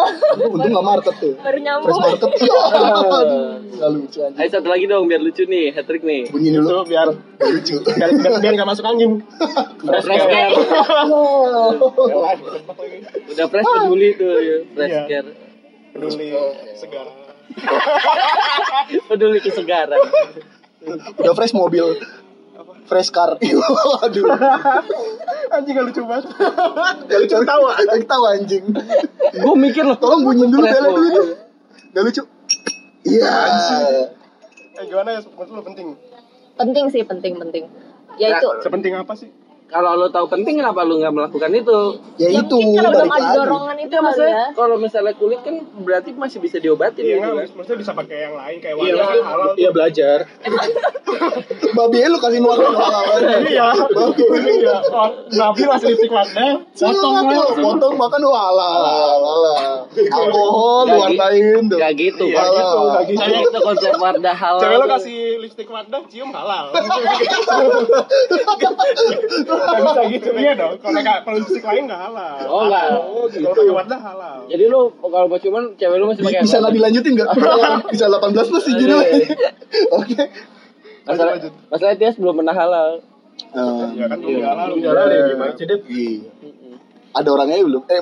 C: untung gak market tuh
E: baru
C: fresh
E: nyambung
C: market iya aduh gak lucu
A: Ayo
C: anjing
A: satu lagi dong biar lucu nih, hat trick nih.
C: bunyi
D: Itu
C: dulu
D: biar
C: Nggak lucu
D: biar biar, biar gak masuk angin.
A: Fresh care.
D: Yalah, ketebak lagi.
A: Udah fresh peduli tuh, ya. fresh
D: Iya.
A: care.
D: Peduli segala.
A: Peduli kesegaran.
C: udah fresh mobil fresh car Iya, aduh
D: Anjing gak lucu banget.
C: gak lucu ketawa ketawa anjing
A: Gue mikir loh,
C: tolong bunyiin dulu
A: Fresh
C: bela dulu
A: mobil.
C: tuh gak lucu iya
D: Eh gimana ya, menurut lu penting?
E: penting sih penting penting ya itu
D: Sepenting apa sih?
A: Kalau lo tahu penting kenapa lo nggak melakukan itu?
C: ya
E: ya
C: itu
E: mungkin kalau udah
C: balik
E: nggak ada
C: lagi Iya.
E: dorongan itu
A: Enggak
E: kali
A: maksudnya
E: ya
A: kalau misalnya kulit kan berarti masih bisa diobatin
D: Iya,
A: gitu
D: nggak,
A: kan.
D: maksudnya bisa pakai yang lain kayak
F: Iya,
D: warna kan halal.
F: iya belajar.
C: babi lu kasih warna halal
D: Iya, iya. Oh, Nabi masih lipstick warna, potong
E: kan?
C: potong
D: lah.
C: potong makan lu halal halal alkohol
A: Jadi-
C: warnain tuh
A: Gak gitu.
D: Iya,
A: Bang.
D: gitu, nggak gitu.
A: Saya itu konsep wardah halal.
D: Cewek lo
A: tuh.
D: kasih lipstick warna, cium halal. iya. Gak bisa gitu. Iya dong, kalau nggak- kalau lipstick lain nggak halal.
A: Oh enggak.
D: Kalau pakai warna halal.
A: Jadi lo kalau mau cuman cewek lo masih
C: Bi-
A: pakai
C: bisa
A: apa?
C: lebih lanjutin nggak
A: gitu.
C: bisa 18 plus sih judul oke
A: Masalah, masalah dia belum pernah halal.
C: Eh,
D: Ya kan belum halal.
F: Lu jalan ya gimana sih, Dep?
C: iya. ada orangnya belum eh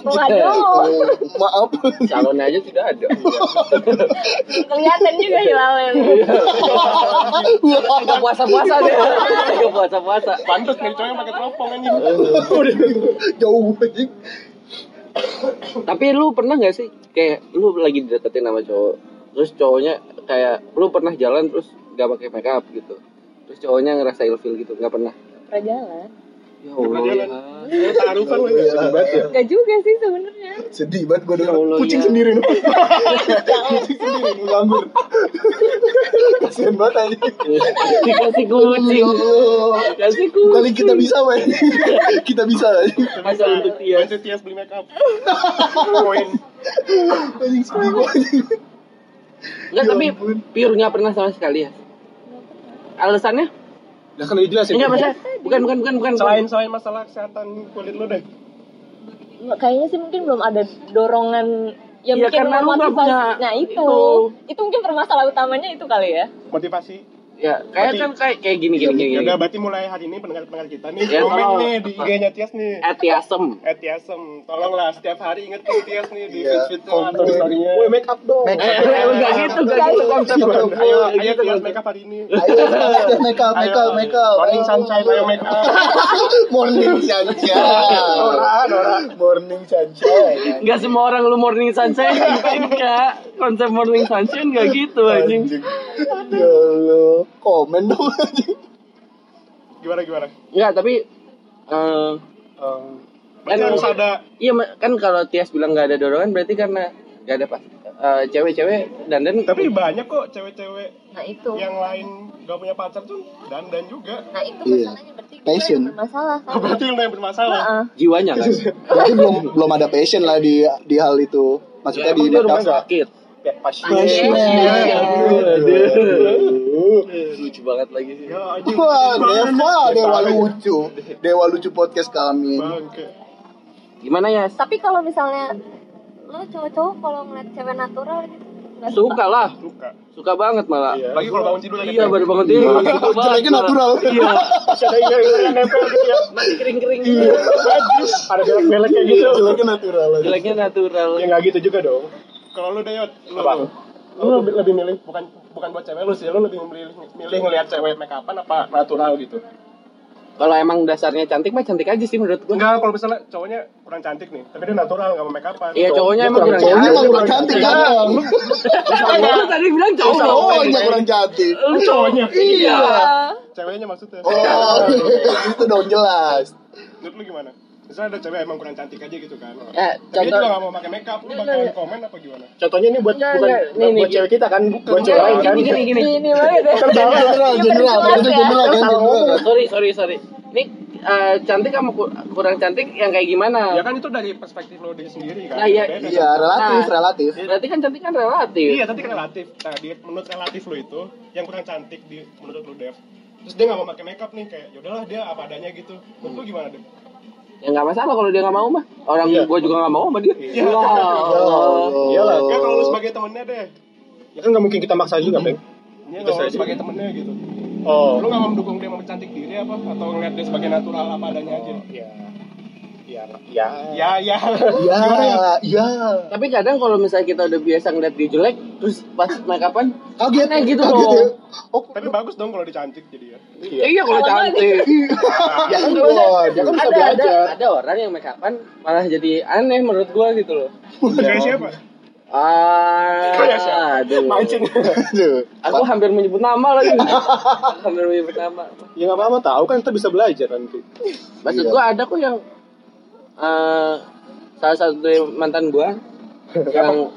E: waduh
C: Iya. maaf
A: Calonnya aja tidak ada.
E: kelihatan juga hilalnya
C: iya.
A: Gak puasa puasa deh. Gak puasa puasa.
D: Pantes dari cowok yang pakai teropong anjing.
C: gitu. jauh anjing.
A: Tapi lu pernah nggak sih kayak lu lagi dideketin sama cowok, terus cowoknya kayak lu pernah jalan terus gak pakai make up gitu, terus cowoknya ngerasa ilfil gitu, nggak pernah.
E: perjalanan
A: Ya Allah. ya.
D: Lu
A: Iya,
D: Taruhan lo ya.
C: Sedih banget ya.
E: Enggak juga sih sebenarnya.
C: sedih banget gue
A: Ya Allah,
C: denger kucing
A: ya.
C: sendiri lu kucing sendiri lu nganggur kasian banget anjing Ya
A: Dikasih kucing. Kasih
C: kali
A: kucing.
C: kita bisa weh kita bisa anjing
A: Masa untuk dia.
D: Masih tias beli makeup. Poin.
C: anjing sedih gua, anjing.
A: Enggak,
C: Ya
A: tapi
C: ampun.
A: pure nggak pernah sama sekali ya. Alasannya?
F: Lah kan udah jelasin.
A: Enggak, maksudnya bukan bukan bukan bukan.
D: Selain selain masalah kesehatan kulit lo deh.
E: Kayaknya sih mungkin belum ada dorongan Ya yang
A: Iya,
E: bikin
A: karena lu nggak
E: memotivasi.
A: punya
E: Nah itu.
A: itu.
E: itu, mungkin permasalahan utamanya itu kali ya.
D: Motivasi.
A: ya kayak
D: Berarti-
A: kan kayak kayak gini gini gini,
D: Ya
A: gini.
D: udah berarti mulai hari ini pendengar-pendengar kita nih
A: Ya,
D: komen
A: tolong.
D: nih di IG-nya Tias nih.
A: atiasem
D: Eh Tiasem, tolonglah setiap hari ingetin Tias nih di
C: Iya,
D: feed-feed tuh atau story-nya.
F: Woi make up dong.
C: Make up.
A: Eh, enggak gitu enggak gitu konsep
D: Ayo, ayo,
A: Enggak
D: ayo
A: gitu
D: Tias
A: konsep.
D: make up hari ini.
C: Ayo, ayo, make up, make up, make up.
D: Morning sunshine, ayo make up.
C: Morning sunshine. Norak, norak. Morning sunshine.
A: Enggak semua orang lu morning sunshine enggak. Konsep morning sunshine enggak gitu anjing.
C: Ya Allah, komen dong anjing.
D: Gimana gimana?
A: Enggak, tapi eh
D: Em,
A: kan
D: berarti harus ada
A: Iya, Ma- kan kalau Tias bilang nggak ada dorongan berarti karena nggak ada pas eh, cewek-cewek dan dan
D: tapi banyak kok cewek-cewek
E: nah itu
D: yang lain gak punya pacar tuh dan dan juga.
E: nah itu
C: Iya.
E: masalahnya berarti gue
C: Passion.
E: yang bermasalah sama
D: Berarti lu yang bermasalah.
E: Heeh.
A: jiwanya kan.
C: Berarti belum belum ada passion lah di di hal itu. Maksudnya di
A: Emang dia
C: make
A: rumah
C: up.
A: sakit.
E: Passion.
A: Aduh. Lucu banget lagi sih.
D: Ya anjing.
C: Wah, Deva, Dewa lucu. Dewa lucu podcast kami.
D: Bangke.
A: Gimana ya?
E: tapi kalau misalnya lo cowok-cowok kalau ngeliat cewek natural gitu nggak
A: Suka lah.
D: Suka.
A: Suka banget malah.
F: Iya.
D: Lagi kalau bangun tidur lagi.
A: Iya, baru bangun tidur. Suka banget
C: Jeleknya
A: malah.
C: natural.
A: Iya.
F: Masih ada yang nempel gitu ya.
A: Masih kering-kering.
F: Ada belek-belek kayak gitu.
C: Jeleknya kan natural. aja.
A: Jeleknya natural.
F: Ya nggak gitu juga dong.
D: Kalau lu Dayot, lu
F: Apa?
D: lu lebih, lebih milih bukan bukan buat cewek lu sih, lu lebih milih milih ngelihat cewek make upan apa natural gitu.
A: Kalau emang dasarnya cantik mah cantik aja sih menurut gua.
D: Enggak, kalau misalnya cowoknya kurang cantik nih, tapi dia natural enggak mau make upan.
A: Iya, cowoknya emang kurang
C: Cowoknya
A: cantik.
C: mah kurang cantik kan? Bang?
A: Eh, Lu tadi bilang cowok.
C: Cowoknya kurang cantik.
A: Lu cowoknya. Iya.
D: Ceweknya maksudnya.
C: Oh, itu dong jelas.
D: Menurut lu gimana? Misalnya ada cewek emang kurang cantik aja gitu kan.
A: Eh,
D: Tapi dia
A: contoh-
D: juga gak mau pakai make up, lu bakalan komen apa gimana?
F: Contohnya ini buat
A: Nggak,
F: bukan
A: nggak. Iya, Nih,
F: bukan
A: nih,
F: buat
A: gini.
F: cewek kita kan, buat cewek lain kan.
A: Gini gini gini.
E: ini banget ya
C: General, general,
E: Jelas
C: itu
E: ya.
C: general kan? General kan?
A: Sorry, sorry, sorry. Ini eh, cantik sama ku- kurang cantik yang kayak
D: Ya
A: gimana?
D: kan itu dari perspektif lo dia sendiri kan.
A: Nah, iya.
D: Beda.
C: Iya, relatif, relatif.
A: Berarti kan cantik kan relatif.
D: Iya, tadi kan relatif. Nah, dia, menurut relatif lu itu yang kurang cantik di menurut lu Dev. Terus dia gak mau pakai make up nih kayak yaudahlah dia apa adanya gitu. Menurut lu gimana Dev?
A: Ya nggak masalah kalau dia nggak mau mah. Orang
F: Iya.
A: gua juga nggak mau sama dia.
D: Iya.
A: Ya Allah.
C: Iya.
F: Iyalah.
A: Oh.
D: Ya kalau lu sebagai temennya deh.
F: Iya Ya kan nggak mungkin kita maksa juga,
D: Iya,
F: Bang. Itu
D: kalau lu
F: saja.
D: sebagai temennya gitu.
F: Oh.
D: Lu gak mau mendukung dia mempercantik diri apa? Atau ngeliat dia sebagai natural apa adanya aja?
F: Ya. Ya. Ya.
D: Ya, ya.
C: Ya, ya.
A: Tapi kadang kalau misalnya kita udah biasa ngeliat dia jelek, terus pas make upan,
C: Kaget
A: Nah, gitu
C: kaget
A: dong.
C: ya. Oh,
D: Tapi bagus dong kalau dicantik jadi ya.
A: iya, kalau cantik.
C: ya kan, Bon. ya kan
A: ada,
C: bisa
A: ada,
C: belajar.
A: ada orang yang make upan malah jadi aneh menurut gua gitu loh.
D: Kayak siapa? Kayak siapa?
A: Ah, aduh.
C: Aduh.
A: Aku hampir menyebut nama lagi. hampir menyebut nama.
F: Ya nggak apa-apa tahu kan kita bisa belajar nanti.
A: Maksud
C: Iya.
A: gua ada kok yang eh, salah satu dari mantan gua yang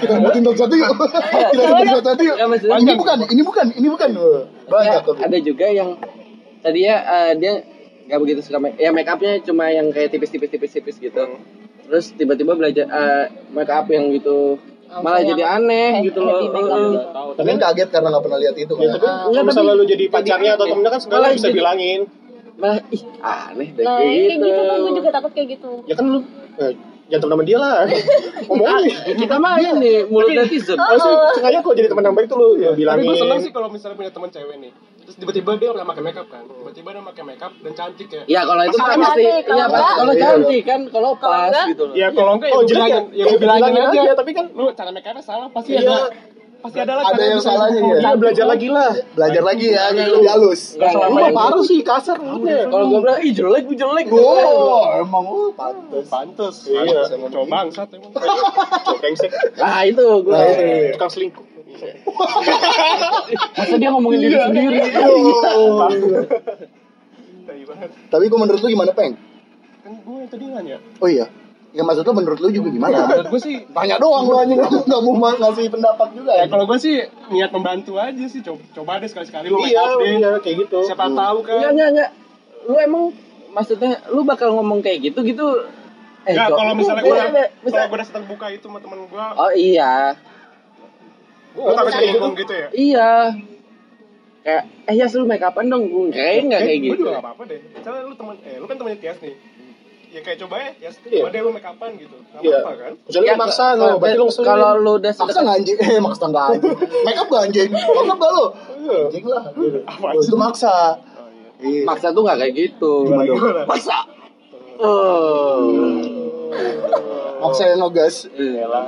C: Kita bikin top satu yuk. Kita bikin top satu yuk.
A: Ya, maksudnya-
C: Ini bukan, ini bukan, ini bukan. Wah, Iya, Banyak tuh.
A: ada juga yang tadinya eh, dia nggak begitu suka make ya make upnya cuma yang kayak tipis-tipis tipis-tipis gitu. Terus tiba-tiba belajar eh, make up yang gitu
E: Oh,
A: malah
E: kayak
A: jadi
E: yang
A: aneh
E: kayak
A: gitu
E: heavy
A: loh.
E: make up
A: Heeh.
E: gitu.
C: Mungkin kaget karena nggak pernah lihat itu
F: Ya
C: kan.
F: tapi
A: Enggak,
F: kalau misalnya
A: tapi-
F: lu jadi pacarnya atau
A: jadi-
F: temennya kan
A: malah
F: sebenarnya bisa
A: jadi-
F: bilangin.
A: Eh, Malah ih aneh deh
E: nah
A: kayak
E: kayak
A: gitu.
E: gitu tuh gue juga takut kayak gitu
F: Ya kan lu eh, jangan temen sama dia lah. Ngomongin.
A: Eh, Kita mah ini mulut netizen.
F: Oh, sih, sengaja kok jadi teman yang baik tuh lu ya,
D: Tapi
F: bilangin.
D: gue seneng sih kalau misalnya punya teman cewek nih. Terus tiba-tiba dia udah pakai makeup kan. Tiba-tiba dia pakai makeup dan cantik ya.
A: Ya kalau itu kan
E: Masalahnya
A: pasti
E: cantik, kalau
A: ya
E: enggak-
A: kalau
C: Iya.
A: cantik kan kalau
E: Kalau
A: pas
E: enggak-
A: gitu loh.
D: Ya kalau enggak ya
F: Oh,
D: gue
F: jelek
D: bilangin,
F: ya,
D: ya gue bilangin
F: bilangin
D: aja.
F: aja, tapi kan
D: Lu cara make upnya salah pasti
F: Iya.
D: ada. Pasti ada lah.
C: Ada
D: cara
C: yang
D: bisa
C: salahnya
D: mendukung.
C: ya.
F: ya belajar lagi lah.
C: Belajar lagi ya, biar lebih halus.
A: Nggak salah
F: Lu
A: apa
F: mah
A: yang-
F: parah sih kasar udah.
A: Kalau gue bilang, ih jelek, gue jelek.
C: Oh, emang oh, pantes.
D: Pantes.
F: Iya.
D: Pantes emang. Coba bangsat emang.
F: Cowok Brengsek.
A: Nah itu gue.
C: Nah, itu.
F: Tukang selingkuh.
A: Masa dia ngomongin diri sendiri? Iya,
D: Tai banget.
C: Tapi gue menurut lu gimana, Peng?
D: Kan gue yang tadi nanya.
C: Oh iya. Ya maksud lu menurut lu juga gimana?
D: Menurut gue sih
C: Tanya doang lu anjing kamu nggak mau ma- ngasih pendapat juga ya.
D: Ya kalau gue sih niat membantu aja sih. Coba, coba deh sekali-sekali lu make
F: Iya,
D: up deh.
F: iya kayak gitu.
D: Siapa tahu kan.
A: Enggak, enggak, enggak. iya, Lu emang, maksudnya lu bakal ngomong kayak gitu, gitu. Eh,
D: Enggak,
A: Cok.
D: kalau Iya,
A: Enggak,
D: misalnya gue
A: enggak,
D: kalau
A: misalnya-
D: gue udah setengah buka itu sama temen gue,
A: Oh iya,
D: lu takut kayak ngomong gitu ya?
A: iya. Kayak, eh ya lu make upan dong. Gue kayaknya enggak kayak
D: Gue
A: gitu.
D: eh, juga gak apa-apa deh. Misalnya lu temen, eh lu kan temennya Tias nih. ya kayak coba ya, ya
F: Iya.
D: model lu make upan gitu. Enggak
F: Iya.
D: apa-apa kan?
F: Jadi
C: Ya,
F: lu maksa lu, berarti lu ngeselin.
A: Ya, kalau lu udah
C: Maksa
A: sedekat
C: nggak anjing? Eh maksa nggak anjing? Make up nggak anjing? Make up nggak lo?
F: Iya.
C: Anjing lah.
D: Apa
C: Lu Itu maksa.
D: Oh, iya.
C: Iya.
A: maksa tuh nggak kayak gitu
C: Gimana dong?
D: Gimana?
A: maksa oh
C: Maksain lo ya, guys.
F: Yalah.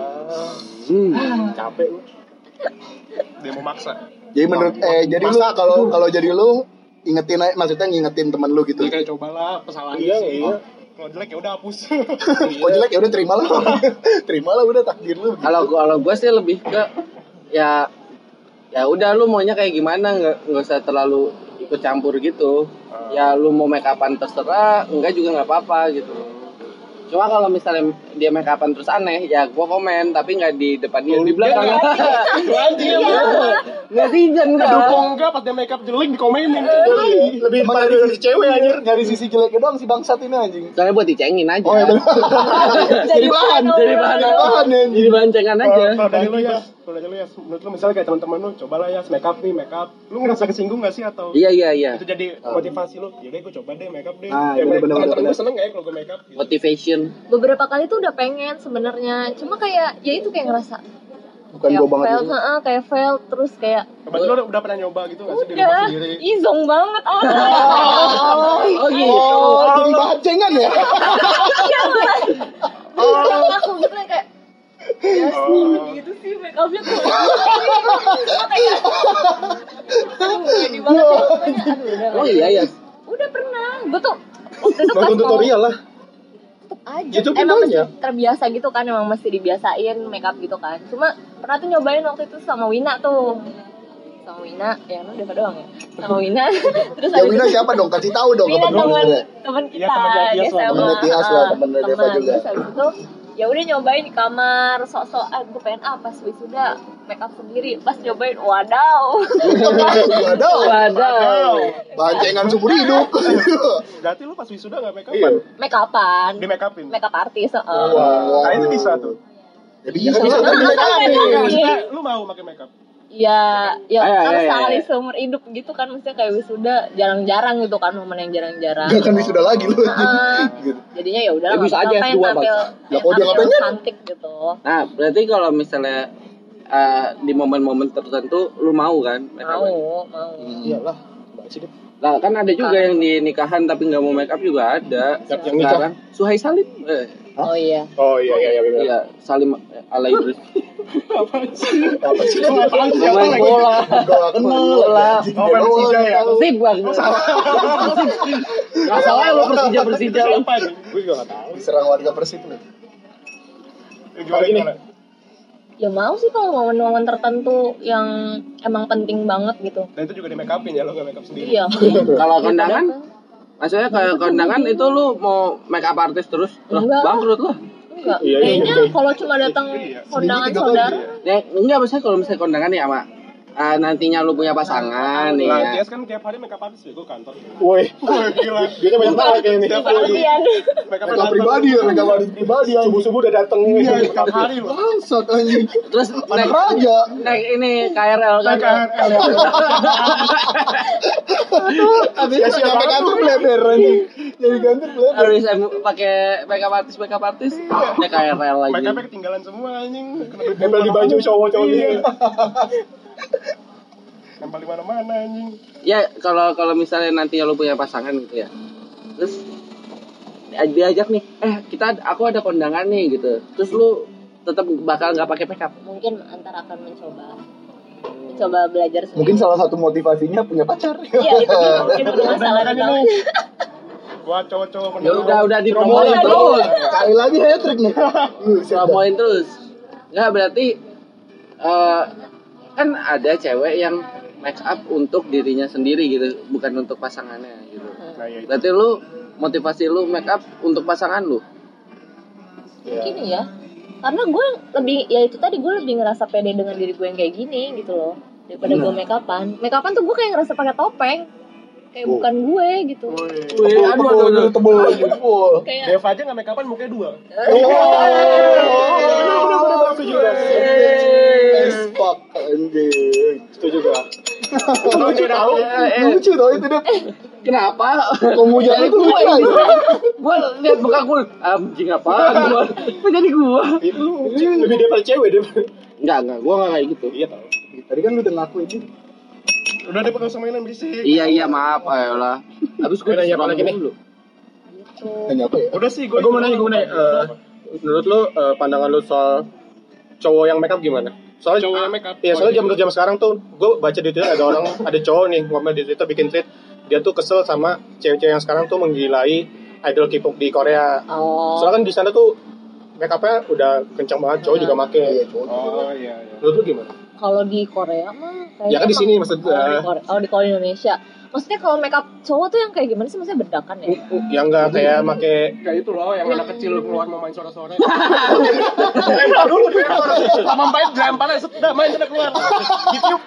A: hmm.
F: Capek gua.
D: Dia mau maksa.
C: Jadi menurut eh jadi lu kalau kalau jadi lu ingetin aja- maksudnya ngingetin temen lu gitu.
D: Ya kayak cobalah kesalahan
F: Iya, iya.
D: Kalau jelek ya udah hapus.
C: Kok jelek ya udah terima lah. terima lah udah takdir lu.
A: kalau gua kalau gua sih lebih ke ya ya udah lu maunya kayak gimana nggak nggak usah terlalu ikut campur gitu ya lu mau make upan terserah enggak juga nggak apa-apa gitu cuma kalau misalnya dia make upan terus aneh ya gua komen tapi nggak di depan dia di belakang
D: Anjing ya.
A: netizen
D: Dukung
A: kan
D: enggak pas dia make up jelek dikomenin.
F: Lebih pada dari si cewek anjir.
C: Nyari sisi jeleknya doang si bangsat ini anjing.
A: soalnya buat dicengin aja
C: Oh ya benar. Jadi bahan,
A: jadi bahan
C: Jadi bahan anjing.
A: jadi bahan cengan aja
D: Kalau dari lu ya, kalau dari lu ya, menurut lu misalnya kayak teman-teman lu cobalah ya make up nih, make up. Lu ngerasa kesinggung gak sih atau
A: iya iya iya
D: itu jadi motivasi lu? Yaudah gue coba deh make up deh.
C: Ah,
D: Ya,
C: bener, bener,
D: teman-teman
C: bener.
D: gua seneng gak ya kalau gue make up? Gitu.
A: motivation
E: beberapa kali tuh udah pengen sebenarnya cuma kayak ya itu kayak ngerasa
C: Bukan
E: kayak
C: gua banget
E: fail,
C: ini.
E: heeh, kayak fail terus kayak
D: Berarti lu udah- udah pernah nyoba gitu gak sih di rumah
E: udah
D: sendiri?
E: izong banget orang
A: oh gitu
C: Oh, jadi bahan cengan ya?
E: Izong aku gitu kayak ya sih gitu sih make upnya kok Cuma kayak gitu. aduh jadi banget ya pokoknya. Aduh, udah
A: oh
E: lah.
A: iya iya
E: udah pernah gue tuh waktu itu pas
F: Nonton
E: mau
F: tutorial lah.
E: tetep aja
F: Itu pun
E: emang mesti
F: banyak.
E: terbiasa gitu kan emang mesti dibiasain makeup gitu kan cuma pernah tuh nyobain waktu itu sama Wina tuh sama Wina yang lu Deva doang ya sama Wina terus
C: Ya
E: habis
C: Wina
E: itu-
C: siapa dong? Kasih tahu dong
E: Wina
C: temen lu
E: teman
C: sebenarnya.
E: teman kita
D: Iya, temennya Tias
E: di
D: lah,
E: SMA.
C: temennya Tias lah,
E: Ah,
C: temennya Deva
E: teman.
C: juga.
E: terus habis itu ya udah nyobain di kamar sok-sok ah, gue pengen apa sih sudah makeup sendiri pas nyobain wadaw
C: Waduh,
A: waduh
C: bahan cengan Iya, seumur hidup.
D: Berarti lu pas wisuda gak make
F: Iya.
D: upan?
E: make upan
D: Di make upin?
E: makeup artis heeh.
C: Oh,
D: Nah itu bisa tuh.
C: Jadi bisa
F: bisa,
C: kan di make upin.
D: Maksudnya lu mau pakai make up?
E: ya ya
A: Ayo, ayo,
E: harus
A: ayo,
E: sekali
A: ayo.
E: seumur hidup gitu kan maksudnya kayak wisuda jarang-jarang gitu kan momen yang
C: Gak
E: jarang-jarang
C: akan wisuda lagi lu.
E: Heeh.
C: Gitu.
E: jadinya ya udah
A: Ya, bisa aja
E: ngapain
A: S2,
E: tampil
C: Lah, kalau dia
E: tampil
C: ngapain kan?
E: cantik gitu
A: nah berarti kalau misalnya eh, di momen-momen tertentu lu mau kan make
E: mau
A: up
E: mau
F: Iyalah. Mbak Sidip.
A: nah kan ada juga yang di nikahan tapi nggak mau make up juga ada
F: Siap, yang nikah.
A: sekarang Suhai Salim eh,
E: oh iya
F: Oh iya iya iya benar.
A: iya Salim eh, ala Idris
C: Apa sih dia?
A: main bola
C: Gak kenal.
A: Bola.
F: Iya,
C: Anjing,
D: Oh,
C: dia
D: main Persija
A: sip bang nggak salah lu Persija Persija lu.
D: ya?
C: doang tahu.
D: Siapa nih?
F: Gue juga gak tahu.
C: Diserang warga Persib lu.
D: Eh, Gimana
F: Gini.
D: gimana?
E: ya mau sih kalau momen-momen tertentu yang emang penting banget gitu
D: Dan itu juga di make upin ya lu gak make up sendiri.
E: iya
A: kalau kondangan maksudnya kayak kondangan itu lu mau make up artis terus Lah,
E: Enggak.
A: bangkrut lu
E: enggak
F: Iya, iya,
E: kayaknya
F: iya.
E: kalau cuma datang kondangan
C: Sendiri tiga kali
E: saudara
A: ya enggak maksudnya kalau misalnya kondangan nih sama ah, nantinya lu punya pasangan nih
D: Nah,
A: ya
D: Tias kan tiap hari make up artis ya, gue kantor.
F: Woi.
D: Wah, Gila.
F: Dia kan banyak banget kayaknya
D: Tiap
F: nih.
D: hari.
E: Kalian.
D: Make
C: Mereka pribadi ya, mereka pribadi pribadi anjing.
F: Subuh-subuh udah dateng nih.
D: Tiap Iya, hari lu.
C: Bangsat anjing.
A: terus
C: Anak
A: naik,
C: raja.
A: naik ini KRL
F: Iya,
A: kan
D: KRL.
C: Habis itu nyampe kantor bleber anjing. Jadi kantor bleber.
A: harus em- pakai makeup artis makeup artis ya KRL lagi
D: Make upnya ketinggalan semua anjing. Kena debu
F: Iya. Nempel di baju
D: mana-mana.
F: cowok-cowok
D: Iya.
F: gitu.
D: Nempel di mana-mana anjing.
A: ya kalau kalau misalnya nantinya lu punya pasangan gitu ya terus dia- diajak nih eh kita aku ada kondangan nih gitu terus lu tetap bakal nggak pakai makeup
E: mungkin antara akan mencoba mencoba belajar sendiri
C: Mungkin salah satu motivasinya punya pacar.
E: Iya itu dia mungkin masalah
F: Iya.
D: Kan
E: banget.
D: ini. Gua cowok-cowok
A: ya
D: pernah.
A: udah udah dipromoin terus
C: Kali lagi hat trick nih. Uh, siap dah.
A: promoin terus nggak berarti eh, kan ada cewek yang make up untuk dirinya sendiri gitu bukan untuk pasangannya gitu
D: Nah, iya.
A: berarti lu motivasi lu make up untuk pasangan lu
E: Mungkin ya. Karena gue lebih ya itu tadi gue lebih ngerasa pede dengan diri gue yang kayak gini gitu loh daripada gue make upan. Make upan tuh gue kayak ngerasa pakai topeng.
F: Oh.
E: Kayak bukan gue gitu.
A: Wih,
F: iya.
C: Tebel,
A: aduh,
C: Anu, tebel,
A: aduh, aduh.
C: tebel, tebel.
E: Kayak
D: Dev aja gak make upan mukanya dua.
C: Oh,
F: Bener-bener setuju guys.
C: As fuck. anjing.
F: Setuju gua.
C: Lucu tau, lucu tau itu deh.
A: Eh, Kenapa?
C: Penghujat itu
A: Gua
C: lucu
A: itu.
C: aja.
A: Gua lihat muka gue, anjing apaan gua. Kok jadi gua?
F: Itu lebih daripada cewek dia.
A: Enggak, enggak, gua enggak kayak gitu.
F: Iya tau.
C: Tadi kan lu udah ngakuin sih.
F: Udah deh pakai sama mainan berisik.
A: Iya, iya, maaf, ayolah. Habis gua
F: Gua nanya apa lagi nih?
A: dulu.
E: gitu.
C: Tanya apa ya?
F: Udah sih gua. Gua mau nanya, gua mau nanya. eh, Menurut lu eh, pandangan lu soal cowok yang makeup gimana? Soalnya
D: Cowok yang make up? Oh,
F: Iya, soalnya
D: iya.
F: jam jam sekarang tuh gua baca di Twitter ada orang ada cowok nih ngomel di Twitter bikin tweet dia tuh kesel sama cewek-cewek yang sekarang tuh menggilai idol K-pop di Korea.
E: Oh.
F: Soalnya kan di sana tuh makeupnya udah kencang banget, cowok juga make.
C: Iya, cowok.
D: Oh iya iya.
F: Menurut lu gimana?
E: Kalau di Korea mah kayaknya
F: Ya kan di
E: emang-
F: sini maksud
E: Oh, di
F: gua.
E: Korea- oh, di kalau Indonesia. Maksudnya kalau makeup cowok tuh yang kayak gimana sih maksudnya bedakan ya?
F: Yang enggak kayak make
D: Kayak itu loh yang anak kecil keluar mau main sore-sore.
F: lempar dulu
D: Sama main dilempar aja, set, dah main sudah keluar. Ditiup.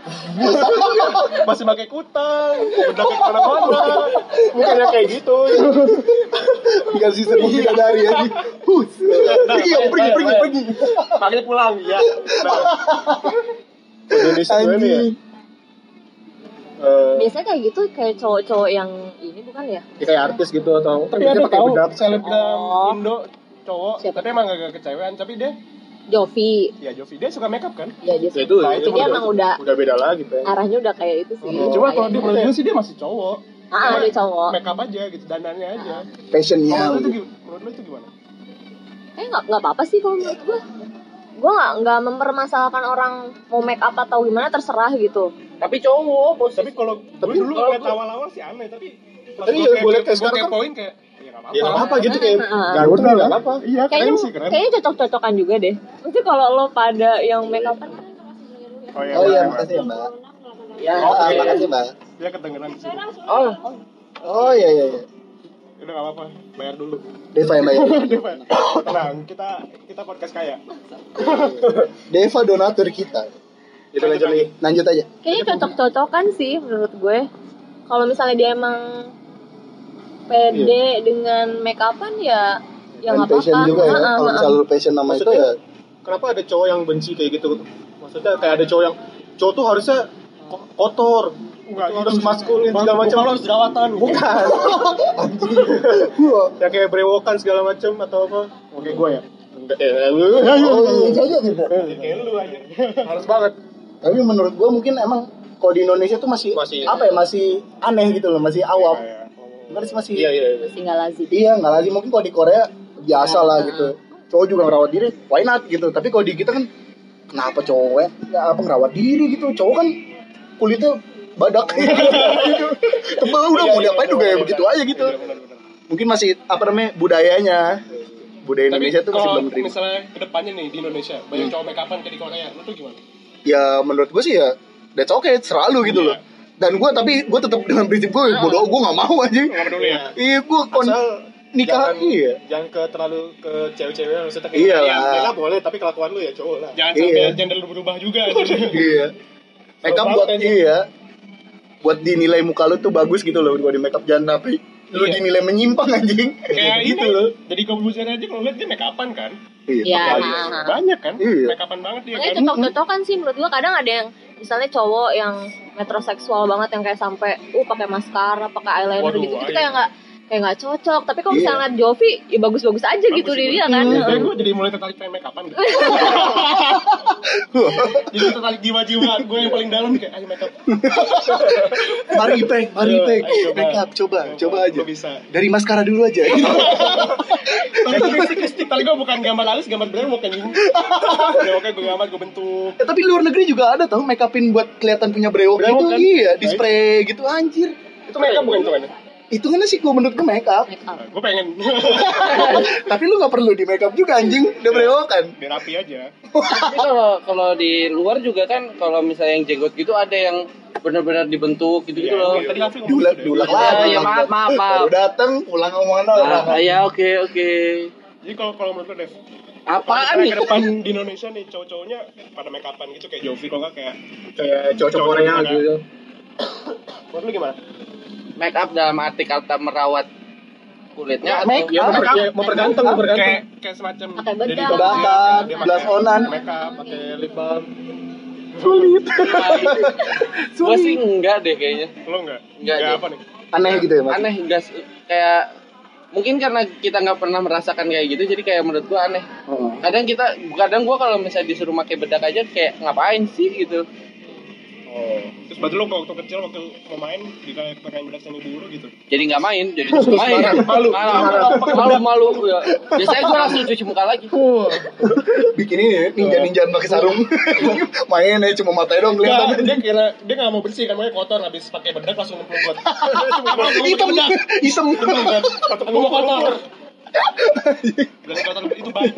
D: Masih pakai kutang, udah ke mana-mana.
F: Bukannya kayak gitu.
C: Tinggal season tiga dari aja. Hus. Pergi, om, pergi, pergi, pergi.
D: Makanya pulang ya.
F: Indonesia gimana ya?
C: Anjing.
F: Eh,
E: Biasanya kayak gitu kayak cowok-cowok yang ini bukan ya?
F: Ya, kayak artis gitu atau kan
D: Tapi
F: biasanya
D: ada
F: pakai
D: tahu
F: bedak
D: selebgram
E: Oh.
D: Indo cowok,
E: Siapa?
D: tapi emang agak kecewean, tapi dia
E: Jovi.
D: ya Jovi dia suka makeup kan?
E: Ya
F: ya
E: justru
F: itu
D: Nah, itu
F: itu
E: dia
F: udah,
E: emang udah
F: udah beda lagi Pe.
E: arahnya udah kayak itu sih.
C: Oh.
D: Cuma kalau di menurut
E: Kayaknya.
D: gue sih dia masih cowok.
E: Ah, ada cowok.
D: Makeup aja gitu, dandannya aja.
C: Passionnya.
D: Menurut Oh, lu itu gim- menurut lu itu gimana?
E: Eh nggak nggak apa-apa sih kalau menurut gue. Gue nggak nggak mempermasalahkan orang mau make up atau gimana terserah gitu.
A: Tapi cowok, bos.
D: tapi kalau tapi
F: Tapi
D: dulu
A: kalau
D: lihat
A: gua-
D: awal-awal sih aneh tapi pas
F: Tapi
D: gua
F: ya
D: kayak-
F: gua lihat kayak
D: gua
F: sekarang kan-
D: kepoin kayak ya nggak
F: Ya nggak
D: apa-apa
F: apa gitu kayak
E: Heeh.
F: ganteng
C: Udah,
F: nggak
C: kan?
F: apa.
D: iya
E: Kayaknya
D: keren sih keren
E: kayaknya cocok-cocokan juga deh. Nanti kalau lo pada yang make up kan
D: oh iya, iya,
C: Oh iya,
D: iya.
C: makasih ya mbak.
A: Ya,
C: Oh,
A: oke.
C: makasih mbak.
D: dia kedengeran sih udah
A: Oh,
C: Oh iya iya. iya.
D: nggak apa-apa bayar dulu
C: Deva yang bayar.
D: Deva, tenang kita kita podcast kaya
C: Deva donatur kita.
F: Itu lanjut lagi.
C: Lanjut aja.
E: kayaknya cocok-cocokan sih menurut gue. Kalau misalnya dia emang pede dengan make upan ya ya
C: Dan
E: nggak
C: passion
E: apa-apa. ah,
C: juga ya.
E: Heeh,
C: Kalau
E: heeh.
C: misalnya lu passion nama itu
F: Maksudnya?
C: ya.
F: Kenapa ada cowok yang benci kayak gitu? Maksudnya kayak ada cowok yang cowok tuh harusnya ko- kotor.
D: Nggak,
F: Itu harus
D: itu- Bang,
F: maskulin Iya, segala macam.
D: muka lo harus jerawatan
F: Bukan.
C: Gua.
F: Ya kayak brewokan segala macam atau apa?
D: oke gue ya
F: Enggak, ya, lu-
C: Oh iya cocok gitu.
D: kayak lu aja
F: harus banget.
C: Tapi menurut gua mungkin emang kalau di Indonesia tuh masih,
F: Masih.
C: apa ya masih aneh gitu loh, masih awam.
D: Iya, iya.
C: Terus masih
F: Iya iya. iya.
E: Masih nggak lazim.
C: iya nggak lazim mungkin kalau di Korea biasa lah
E: Nah.
C: gitu. Cowok juga ngerawat diri, why not gitu. Tapi kalau di kita kan kenapa cowok ya? nggak apa ngerawat diri gitu? Cowok kan kulitnya badak gitu. Tebel udah
F: Iya,
C: mau
F: iya,
C: diapain
F: iya,
C: juga ya
F: iya,
C: begitu
F: iya.
C: aja gitu.
D: Iya, benar-benar.
C: Mungkin masih apa namanya budayanya. Budaya Indonesia
D: Tapi
C: tuh masih
D: kalau
C: belum terima.
D: misalnya kedepannya nih di Indonesia banyak cowok make upan kayak di Korea lu tuh gimana
C: ya menurut gue sih ya that's okay selalu gitu loh dan gue tapi gue tetap dengan prinsip gue bodoh gue nggak mau aja
D: nggak peduli ya
C: iya gue kon
F: Asal
C: nikah
F: jangan-
C: iya
F: Jangan ke terlalu ke cewek-cewek maksudnya kayak
C: Iya
F: ya,
C: lah.
F: mereka boleh tapi kelakuan lu ya cowok lah.
D: jangan
C: Iya.
D: sampai gender lu berubah juga anjing.
C: iya makeup buat
D: banget,
C: iya buat dinilai muka lu tuh bagus gitu loh buat di makeup jangan tapi lu
D: Iya.
C: dinilai menyimpang anjing
D: kayak
C: gitu
D: ini
C: loh
D: jadi kebusian aja kalau lihat dia make upan kan
E: Iya.
C: iya
E: nah, nah, nah.
D: banyak kan
C: Iya.
D: make upan banget dia
E: Makanya
D: kan
E: cocok-cocokan sih menurut gua kadang ada yang misalnya cowok yang metroseksual banget yang kayak sampai uh pakai maskara, pakai eyeliner
D: Waduh,
E: gitu gitu
D: iya.
E: kayak nggak kayak nggak cocok. Tapi kalau
C: Iya.
E: misalnya ngeliat Jovi, ya bagus-bagus aja gitu
D: sih,
E: di dia kan.
D: Kayak gue jadi mulai tertarik pengen make upan gitu. Jadi tertarik jiwa-jiwa gue yang paling dalam nih, kayak ayo make up.
C: mari peng mari
D: Ayo,
C: peng
D: ayo, coba.
C: makeup coba coba aja
D: Gue bisa.
C: dari maskara dulu aja
D: Tapi stick-stick tadi gue bukan gambar alis, gambar brewok kan. Ya oke gue gambar, gue bentuk.
C: Ya, tapi luar negeri juga ada tau make upin buat kelihatan punya brewok,
D: Brewok
C: gitu
D: kan?
C: iya
D: Baik.
C: di spray gitu anjir
D: Itu make up bukan itu kan?
C: itu kan sih gue menurut gue make up
E: Make up.
D: Gue pengen
C: tapi lu nggak perlu di make up juga anjing udah brewokan
D: biar rapi aja.
A: tapi kalau kalau di luar juga kan kalau misalnya yang jenggot gitu ada yang benar-benar dibentuk gitu gitu
D: Iya,
A: loh.
D: iya. Tadi Raffi ngomong
C: diulang
D: gitu deh.
C: diulang
A: Iya,
C: lagi
A: iya, maaf, maaf, maaf.
C: baru dateng ulang omongan orang
A: Ah, ya oke oke.
D: Jadi kalau kalau menurut lo Dev,
A: Apaan
D: misalnya
A: nih?
D: ke depan di Indonesia nih cowok-cowoknya pada make upan gitu kayak Jovi kok nggak kayak
F: Kayak cowok-cowok
D: Cowok-cowok
F: Korea
D: Korea.
F: gitu.
D: menurut lu gimana?
A: Make up dalam arti kata merawat kulitnya atau
C: make
F: Ya
C: up
F: memper, ya, memperganteng, memperganteng.
D: Kayak kayak semacam
E: Pakai bedak.
D: Deddy Corbuzier,
C: Bedak,
D: dia pakai
C: blush onan.
D: make up, pakai lip balm.
F: Sulit.
A: Gue sih enggak deh kayaknya.
D: Lo enggak?
A: Enggak deh.
D: Ya, apa nih?
C: Aneh gitu ya mas.
A: aneh enggak sih. kayak mungkin karena kita nggak pernah merasakan kayak gitu jadi kayak menurut gua aneh
C: Heeh.
A: kadang kita kadang gua kalau misalnya disuruh pakai bedak aja kayak ngapain sih gitu
D: Oh. Terus berarti lo waktu kecil waktu mau main di kayak pengen bedak seni guru gitu.
A: jadi nggak main jadi disuruh main
D: malu,
A: malu malu malu ya. biasanya gua langsung cuci muka lagi
C: Bikin ini ya,
D: Oh.
C: ninja-ninjaan pakai sarung. Main ya cuma matanya doang kelihatan.
D: Enggak, dia kira dia nggak mau bersih kan makanya kotor habis pakai bedak langsung nyemplung
F: Ah,
D: Cuma
C: Hitam, hitam.
D: Aku mau kotor. Gak kotor itu baik.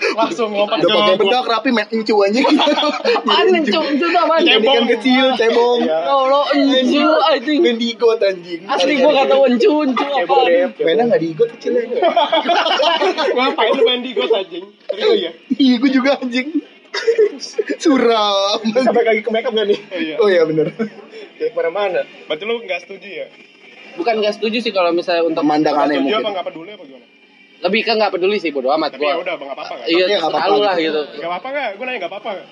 D: Langsung lompat
C: Udah pakai bedak rapi main incu aja.
A: apaan encung itu tuh apaan
C: Jadi kan kecil, cebong.
D: Iya.
A: ya Allah encu anjing
C: Main di got anjing.
A: asli gua nggak tahu encu encu apa
C: Mainnya nggak di got kecil ya.
D: Ngapain lu main di got anjing? Serius ya?
C: Iya, gue juga anjing. Suram.
F: Sampai kaki ke makeup gak nih?
D: Oh iya.
C: Oh iya bener.
F: Kayak mana-mana.
D: Berarti lu nggak setuju ya?
A: bukan nggak setuju sih kalau misalnya untuk
C: Pemandangan
D: Nggak
C: aneh
D: setuju apa
C: mungkin.
D: nggak peduli apa gimana?
A: lebih ke nggak peduli sih bodo amat
D: Tapi ya
A: gua
D: udah, nggak apa-apa nggak?
C: Tapi ya
A: iya
C: nggak apa-apa
A: selalu lah gitu
D: Nggak apa-apa nggak? Gue nanya nggak apa-apa nggak?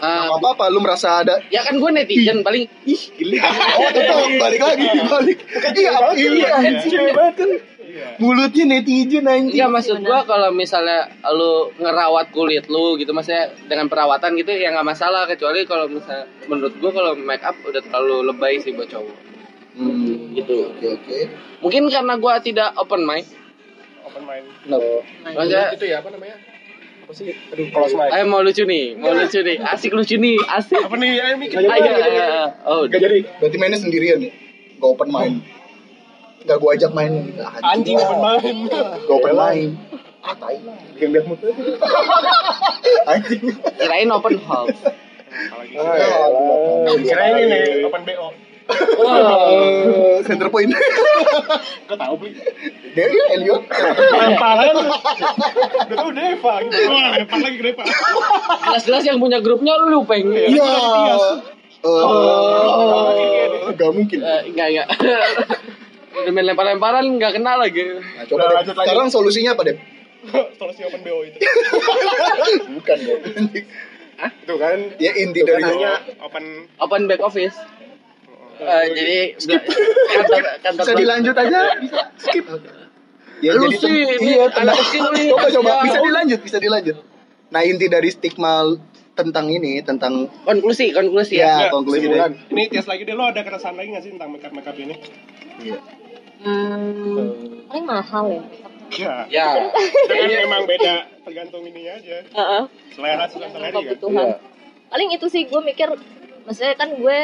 A: Ah,
C: Apa apa lu merasa ada
A: ya kan gue netizen paling
C: ih gila. Oh, tetap balik lagi balik. Iya, iya anjing banget kan.
D: Iya.
C: Mulutnya netizen
A: Iya
C: anjing.
A: maksud gua kalau misalnya lu ngerawat kulit lu gitu maksudnya dengan perawatan gitu ya nggak masalah kecuali kalau misalnya menurut gua kalau make up udah terlalu lebay sih buat cowok.
C: Hmm,
A: gitu.
C: Oke, oke.
A: Mungkin karena gua tidak open mind.
D: Open mind. Nah, iya,
A: Maksudnya
D: gitu
F: Itu ya apa namanya? Apa sih? Aduh,
D: Close mind.
A: ayo mau lucu nih,
D: Iya.
A: mau lucu nih. Asik lucu nih, asik.
D: Apa nih? Ayo mikir.
A: Ayo, ayo, ayo. Oh,
F: Gak jadi.
C: Berarti mainnya sendirian ya? Gak open main. Gak gua ajak main. Ah,
D: Anjing open mind.
C: Gak open main. Ah, tai.
F: Game Death Mood.
C: Anjing.
A: kirain open house.
D: Ah,
F: Ah, iya.
D: Kira iya. ini nih open BO.
A: Wow.
D: Oh.
C: Eh, Center point.
D: Gak tau beli.
C: Dia ya Elliot.
D: Lemparan. Udah tau Deva. gitu. Wah, lempar lagi ke Deva.
A: Jelas-jelas yang punya grupnya lu peng.
C: Iya. Eh, Gak mungkin.
A: Eh, Enggak, enggak. Udah main lempar-lemparan nggak kenal lagi.
C: Nah, coba deh.
D: lanjut lagi.
C: Sekarang solusinya apa deh?
D: Solusi open BO itu.
C: Bukan deh.
F: Itu kan.
C: Ya inti dari
F: Nanya.
D: Open
A: Open back office.
D: Oh,
A: Eh, jadi
D: iya.
A: kantor kantor
C: bisa dilanjut aja bisa skip ya,
A: Lu
C: jadi
A: sih, ini Iya.
C: tem- iya,
A: anak
C: tenang.
A: kecil nih,
C: coba coba
A: kasihan.
C: bisa dilanjut bisa dilanjut nah inti dari stigma tentang ini tentang
A: konklusi konklusi ya.
C: ya,
D: Enggak,
C: konklusi
F: kesimpulan.
C: deh
D: Ini tes lagi deh, lo ada keresahan lagi gak sih tentang makeup makeup ini?
E: Hmm, paling mahal ya.
D: Iya.
A: Ya.
D: Kan memang beda tergantung ini aja.
E: Heeh.
D: Selera suka selera kan.
A: Iya.
E: kebutuhan. Paling itu sih gue mikir, maksudnya kan gue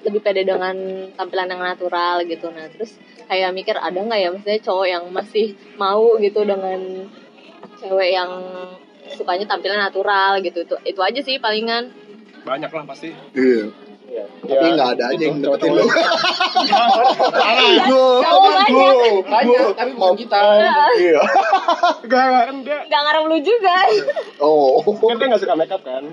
E: lebih pede dengan tampilan yang natural gitu. Nah terus kayak mikir ada nggak ya maksudnya cowok yang masih mau gitu dengan cewek yang sukanya tampilan natural gitu itu itu aja sih palingan
D: Banyak lah pasti.
C: Iya. tapi
F: Ya,
C: nggak ada aja yang
F: itu,
C: deketin lo
E: Cowok banyak.
A: Banyak tapi bukan kita.
C: iya
D: Enggak, enggak kan dia
E: nggak ngarang lu juga
C: oh
D: kan dia nggak suka makeup kan.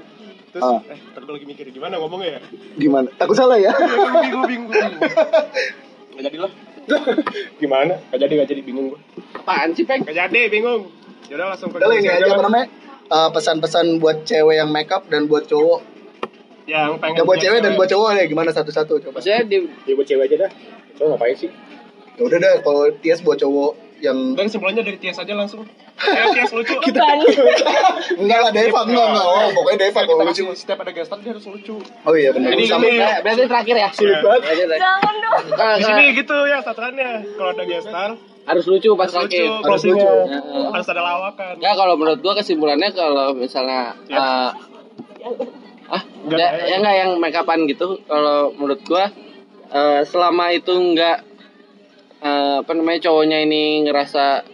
D: Terus
C: Ah.
D: eh ntar gue lagi mikir gimana ngomongnya ya.
C: gimana takut salah ya
D: Gue bingung, gue bingung, gue bingung. Gak jadi lah.
F: Gimana? Gak jadi, gak jadi. Bingung gue.
A: Apaan sih peng?
D: Gak jadi, bingung. Yaudah langsung ke
C: udah lah, ini
D: Indonesia
C: aja apa
D: lah.
C: namanya Eh, pesan-pesan buat cewek yang makeup dan buat cowok
D: Yang pengen
C: ya buat cewek dan buat cowok deh gimana satu-satu coba
A: Maksudnya di
F: Ya buat cewek aja dah. Cowok ngapain sih?
C: ya udah deh kalau Tias buat cowok yang
D: Dan kesimpulannya dari Tias aja langsung. Eh, Tias lucu. Kita
C: enggak lah Deva enggak enggak oh, pokoknya Deva kalau lucu
D: kasih setiap ada gestar dia harus lucu.
C: oh iya benar
D: Ini-
C: sama
D: ini-
A: Ber- berarti terakhir ya.
D: Sulit banget.
A: Berarti terakhir.
E: jangan dong
A: Nah,
D: Di
A: nah,
D: sini gitu ya satuannya. Kalau ada gestar,
A: Eh, harus lucu pas
D: harus lucu,
A: terakhir.
C: harus
D: closingnya.
C: lucu
A: Heeh.
D: harus ada lawakan
A: Ya kalau menurut gua kesimpulannya kalau misalnya
D: Ya.
A: eh, ah ya,
D: Nggak, nggak.
A: ya nggak yang make upan gitu kalau menurut gua eh, selama itu nggak eh, apa namanya cowoknya ini ngerasa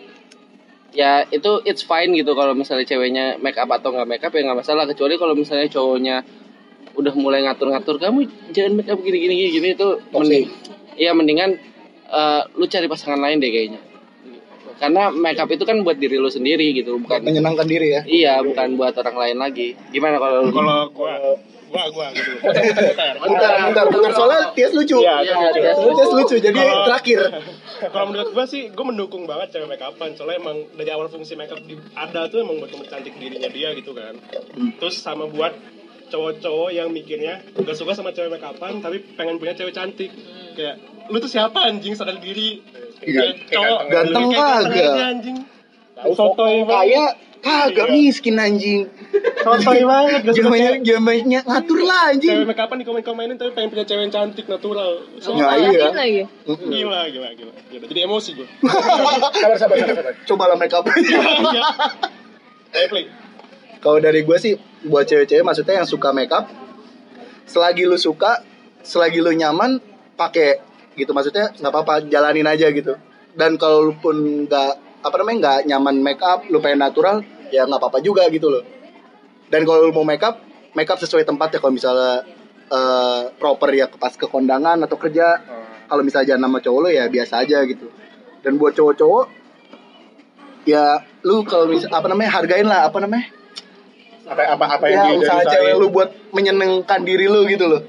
A: ya itu it's fine gitu kalau misalnya ceweknya make up atau nggak make up ya nggak masalah kecuali kalau misalnya cowoknya udah mulai ngatur-ngatur kamu jangan make up gini gini gini, gini itu mending iya mendingan eh, lu cari pasangan lain deh kayaknya karena make up itu kan buat diri lu sendiri gitu bukan
C: menyenangkan diri ya
A: Iya, bukan buat orang lain lagi. Gimana kalau lu?
D: kalau gua gua gua gitu
C: bentar bentar bentar soalnya Tias lucu
F: Iya,
A: Iya,
F: kan lucu.
A: iya.
C: Tias lucu jadi
D: Kalau-
C: terakhir
D: kalau menurut gua sih gua mendukung banget cewek make upan soalnya emang dari awal fungsi make up di- ada tuh emang buat mempercantik dirinya dia gitu kan terus sama buat cowok-cowok yang mikirnya gak suka sama cewek make upan tapi pengen punya cewek cantik kayak lu tuh siapa anjing sadar diri
F: Iya,
D: Kayak cowok lebih
C: ganteng
D: kayak ganteng
C: kagak.
D: aja, anjing
F: Tahu,
D: soto
C: Kaya kagak miskin anjing.
F: gitu.
D: sotoy banget gak suka
C: Jamanya
D: cewek
C: jamanya ngatur lah
D: cewek
C: anjing.
D: make upan dikomen-komenin tapi pengen punya cewek yang cantik natural so,
C: Nggak, iya.
E: Ngalahin lagi.
D: gila gila gila gila jadi emosi gue
F: Sabar, sabar, sabar, sabar.
C: Coba lah make up.
D: Ayo play
C: Kalau dari gue sih buat cewek-cewek maksudnya yang suka make up selagi lu suka, selagi lu nyaman pakai gitu maksudnya nggak apa-apa jalanin aja gitu. Dan kalaupun nggak apa namanya nggak nyaman make up, lu pengen natural ya nggak apa-apa juga gitu loh. Dan kalau lu mau make up, make up sesuai tempat ya kalau misalnya eh, proper ya pas ke kondangan atau kerja.
F: Hmm.
C: Kalau misalnya jangan nama cowok lu ya biasa aja gitu. Dan buat cowok-cowok ya lu kalau misal apa namanya hargain lah apa namanya
F: Apa, apa, apa
C: ya
F: yang dia
C: usaha
F: usahain.
C: cewek lu buat menyenangkan diri lu gitu loh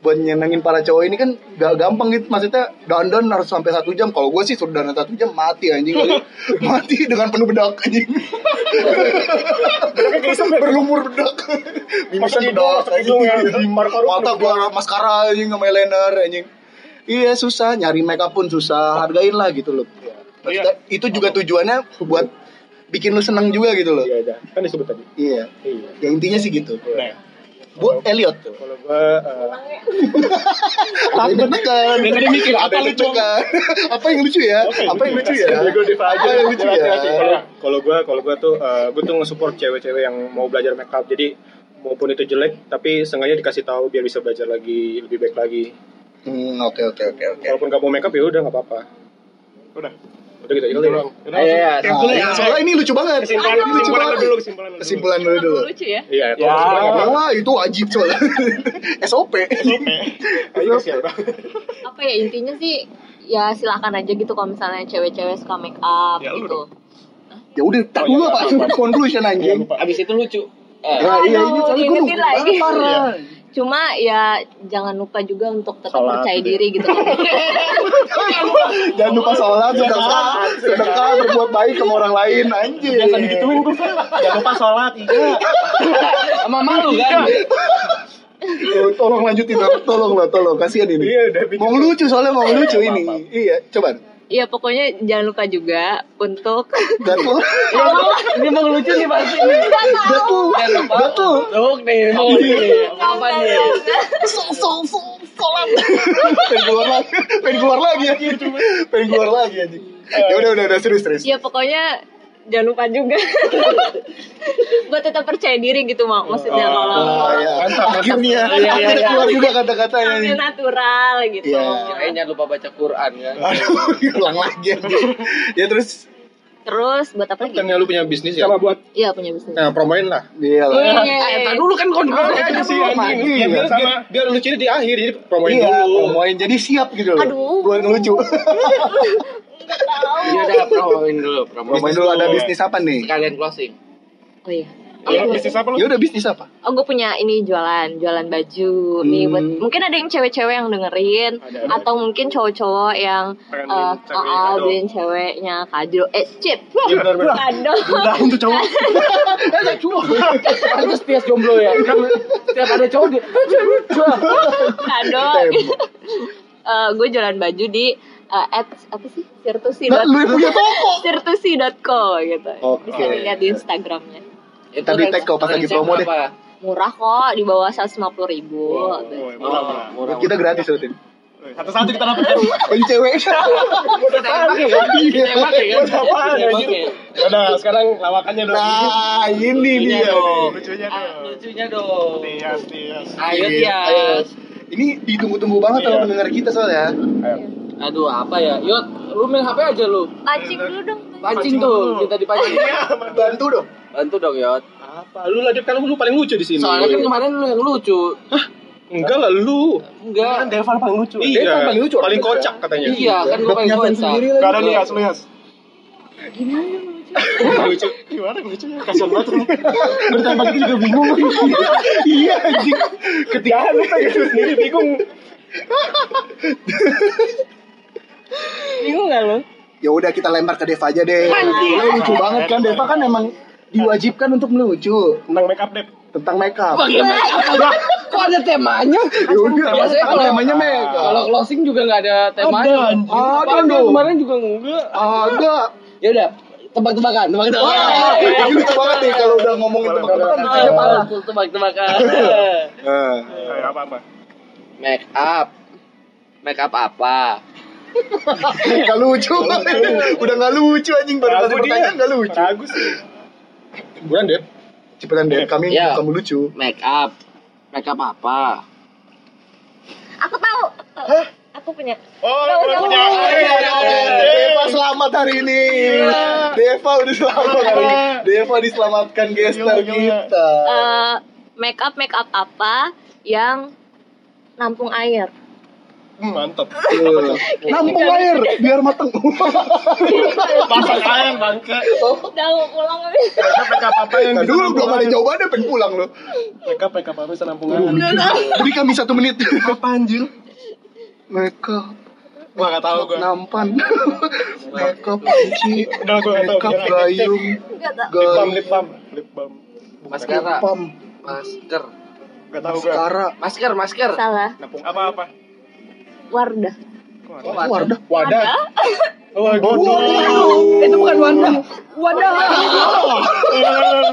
C: buat nyenengin para cowok ini kan gak gampang gitu maksudnya dandan harus sampai satu jam kalau gue sih suruh dandan satu jam mati anjing kali mati dengan penuh bedak anjing berlumur bedak
F: gitu, Masuk
C: mimisan
F: hidung,
C: bedak
F: masuk hidung ya.
C: anjing.
F: Paru-paru
C: mata
F: penuh
C: gue maskara anjing sama eyeliner anjing iya susah nyari makeup pun susah hargain lah gitu loh
F: Iya.
C: Maksudnya, itu juga tujuannya buat bikin lu seneng juga gitu loh
F: Iya, iya. Kan disebut tadi.
C: iya
F: Iya.
C: ya intinya sih gitu
D: Nah,
C: buat Elliot tuh
F: Kalau gua eh,
C: Takut kan.
D: Dia tadi mikir, apa lucu?
C: Apa yang lucu ya? Apa yang lucu ya?
F: Gue diva aja.
C: Apa yang lucu ya?
F: Hati-hati. Kalau- Kalau gue, kalau gue tuh, gue tuh nge-support cewek-cewek yang mau belajar makeup. Jadi maupun itu jelek, tapi sengaja dikasih tahu biar bisa belajar lagi, lebih baik lagi.
C: Hmm, oke oke oke oke.
F: Walaupun gak mau makeup ya udah nggak apa-apa.
D: udah
F: Udah gitu aja kali ya.
D: Udah, udah.
A: Iya, iya.
C: Nah, ini- soalnya ini lucu banget.
D: kesimpulan
C: Ini lucu
D: kesimpulan
C: banget.
D: dulu kesimpulan dulu
C: Kesimpulan dulu dulu.
E: Lucu ya.
F: Iya,
D: Ya.
F: kalau sebenarnya nggak apa-apa.
C: Wah, itu wajib soalnya. SOP.
F: Ayo, kasihan.
E: Apa ya intinya sih ya silakan aja gitu kalau misalnya cewek-cewek suka make up
D: Ya, lu
E: gitu.
C: Ya udah, tak dulu apa? Conclusion
F: Iya,
C: anjing.
A: Abis itu lucu. Eh,
C: Ya, iya ini soalnya
E: Aduh,
C: gue
E: diingetin
C: nunggu banget,
E: lagi. Iya.
C: parah.
E: Cuma ya jangan lupa juga untuk tetap
F: Sholat
E: percaya
F: gitu ya.
E: diri gitu.
C: Jangan lupa
F: Iya,
C: sholat, sedekah, sedekah, berbuat baik sama orang lain, anjing.
D: Jangan
F: gitu.
D: digituin gue Jangan lupa sholat Iya
A: sama malu kan?
C: Ya, tolong lanjutin, Dok. tolong lah, tolong. Kasihan ini.
F: Iya, udah bikin.
C: Mau lucu soalnya mau lucu
F: Iya,
C: ini.
F: maaf, maaf.
C: Iya, coba.
E: Iya pokoknya jangan lupa juga untuk
C: Gatul.
A: Ini mau lucu nih pasti.
F: Iya,
C: Gatul. Gatul.
A: Look nih, mau nih. Apa nih?
C: ya. Pengen keluar lagi. Pengen keluar lagi
F: Iya,
C: anjing. Pengen keluar lagi anjing. Ya udah udah udah serius serius.
E: ya pokoknya jangan lupa juga buat tetap percaya diri gitu mak maksudnya
C: Oh,
E: kalau
C: iya.
F: Mantap, mantap.
C: Akhirnya
A: Iya, iya,
C: akhirnya
A: iya.
C: keluar juga kata-katanya.
E: tampil natural gitu
C: Iya.
A: Kayaknya jangan lupa baca Quran kan.
C: Ah. Aduh, ulang lagi anjing. Ya terus
E: terus buat apa lagi
F: Bukannya lu punya bisnis ya? Sama buat
E: iya punya bisnis
F: nah, promoin lah.
C: Iya lah.
A: Eh, tar dulu kan kontrol aja sih anjing.
F: Ya, biar, biar, biar lucunya di akhir, jadi promoin
C: Iya,
F: dulu.
C: promoin jadi siap gitu loh.
E: Aduh.
C: Gua ngelucu.
A: Iya udah promoin dulu,
C: Promoin
A: promoin.
C: dulu ada bisnis apa nih?
A: Sekalian closing.
E: oh iya
D: Iya, bisnis apa lu?
C: Ya udah bisnis apa?
E: Oh gue punya ini jualan, jualan baju nih buat mungkin ada yang cewek-cewek yang dengerin atau mungkin cowok-cowok yang
D: Pengen
E: eh,
D: beliin cewek
E: oh, oh,
D: kado.
E: beliin ceweknya kado eh chip
F: Iya, benar-benar.
E: kado
C: Udah untuk cowok.
A: Eh, cuma. Harus setiap jomblo ya. Setiap ada cowok dia.
E: kado Eh, gue jualan baju di eh, at apa sih sirtusi
C: Lah, lu yang punya toko.
E: sirtusi.co gitu
C: Oke.
E: bisa dilihat di instagramnya
A: Itu
C: Tadi tag kau pas lagi promo deh.
E: murah kok di bawah 150 ribu
D: Oh, murah, murah.
A: Murah.
C: Kita gratis loh, Tin.
D: Satu-satu kita dapat
C: Baju cewek. Iya.
A: kita yang pakai kan? Kita yang
C: ya?
A: pakai kan? Kita yang pakai.
D: Udah, sekarang lawakannya dong
C: Nah, ini
A: Lucunya
C: dia.
A: dong.
D: Lucunya
A: Ah,
D: dong
A: Lucunya dong.
D: Tias, tias
A: Ayo
C: Ayo.
A: Tias.
C: Ini ditunggu-tunggu banget sama pendengar kita soalnya.
A: Aduh apa ya? Yot, lu main HP aja lu.
E: pancing dulu dong
A: Pancing tuh, kita dipancing.
C: Oh, iya. Bantu dong.
A: Bantu dong Yot.
F: Apa? Lu lah, Dep, kan lu paling lucu di sini.
A: Soalnya kan kemarin lu yang lucu.
F: Enggak lah, lu.
C: Kan
A: Enggak.
D: Devan paling lucu
C: Dep kan paling lucu,
F: Iya. paling
C: orang
F: kocak katanya.
A: Iya, kan gua paling
C: Dapnya fan
A: kocak.
C: sendiri
D: Gak
C: lagi.
D: ada nih, asli Yas Gimana lucu? Gimana lucunya? Kasian banget lu Bertambah gitu juga bingung
C: Iya, anjing. Ketika lu
F: sendiri bingung.
E: bingung gak lo
C: Ya udah kita lempar ke Deva aja deh. Soalnya lucu banget kan Deva kan emang diwajibkan untuk melucu.
D: Tentang make up, Dep
C: tentang makeup.
A: Bagaimana? Lah, Kok ada temanya?
C: Ya udah,
A: Biasanya
C: kan
A: kalau-
C: temanya makeup.
A: Kalau closing juga nggak ada temanya.
D: Ada, anjing.
A: Ada,
C: Ada dong.
A: Kemarin juga enggak.
C: ada.
A: Ya udah, tebak-tebakan, tebak-tebakan.
C: Wah, ini lucu banget nih kalau udah ngomongin
F: Boleh,
C: tebak-tebakan
F: boleh.
A: Iya, Ah.
C: bikinnya parah.
A: Full tebak-tebakan.
C: Nah,
F: Eh, apa apa?
A: Make up. Make up apa?
C: Eh, gak lucu. Udah gak lucu anjing baru
F: Ragu
C: kasih
F: dia.
C: pertanyaan gak lucu.
F: Ragu sih. Bulan deh.
C: Cepetan deh, kami
A: Iya.
C: kamu lucu.
A: Make up. Make up apa?
E: Aku tahu. aku tahu. Aku punya.
F: Oh,
E: Udah,
F: udah
E: udah,
F: punya.
E: udah,
F: Eh,
E: udah,
F: udah,
E: udah,
F: udah.
C: Deva selamat hari ini. Deva udah selamat hari ini. Deva diselamatkan gester
F: Gila, gila.
C: kita.
E: Eh, make up make up apa yang nampung air?
F: Hmm, Mantep.
C: Nampung air biar mateng.
F: Pasang ayam bangke.
E: Udah mau pulang habis.
F: Mereka PK apa yang
C: Nah,
F: bisa
C: dulu belum ada
F: nampung
C: jawabannya pengen pulang loh.
F: air. Mereka PK apa yang bisa nampung air.
C: Beri kami satu menit. Apa anjir? Makeup.
F: Wah, gak tau gue.
C: nampan makeup kunci
F: Udah, gue gak tau.
C: makeup gayung
E: Enggak tahu.
F: Lip balm,
C: gayung
F: lip balm. Lip balm.
A: Maskara.
C: pam
A: Masker.
F: Gak tau gue.
C: sekarang
A: Masker, masker.
E: Salah.
F: Nampung apa-apa?
E: Wardah.
A: Oh,
C: wardah
F: Wadah. Wadah.
C: Waduh.
A: Itu bukan Wanda. Wanda.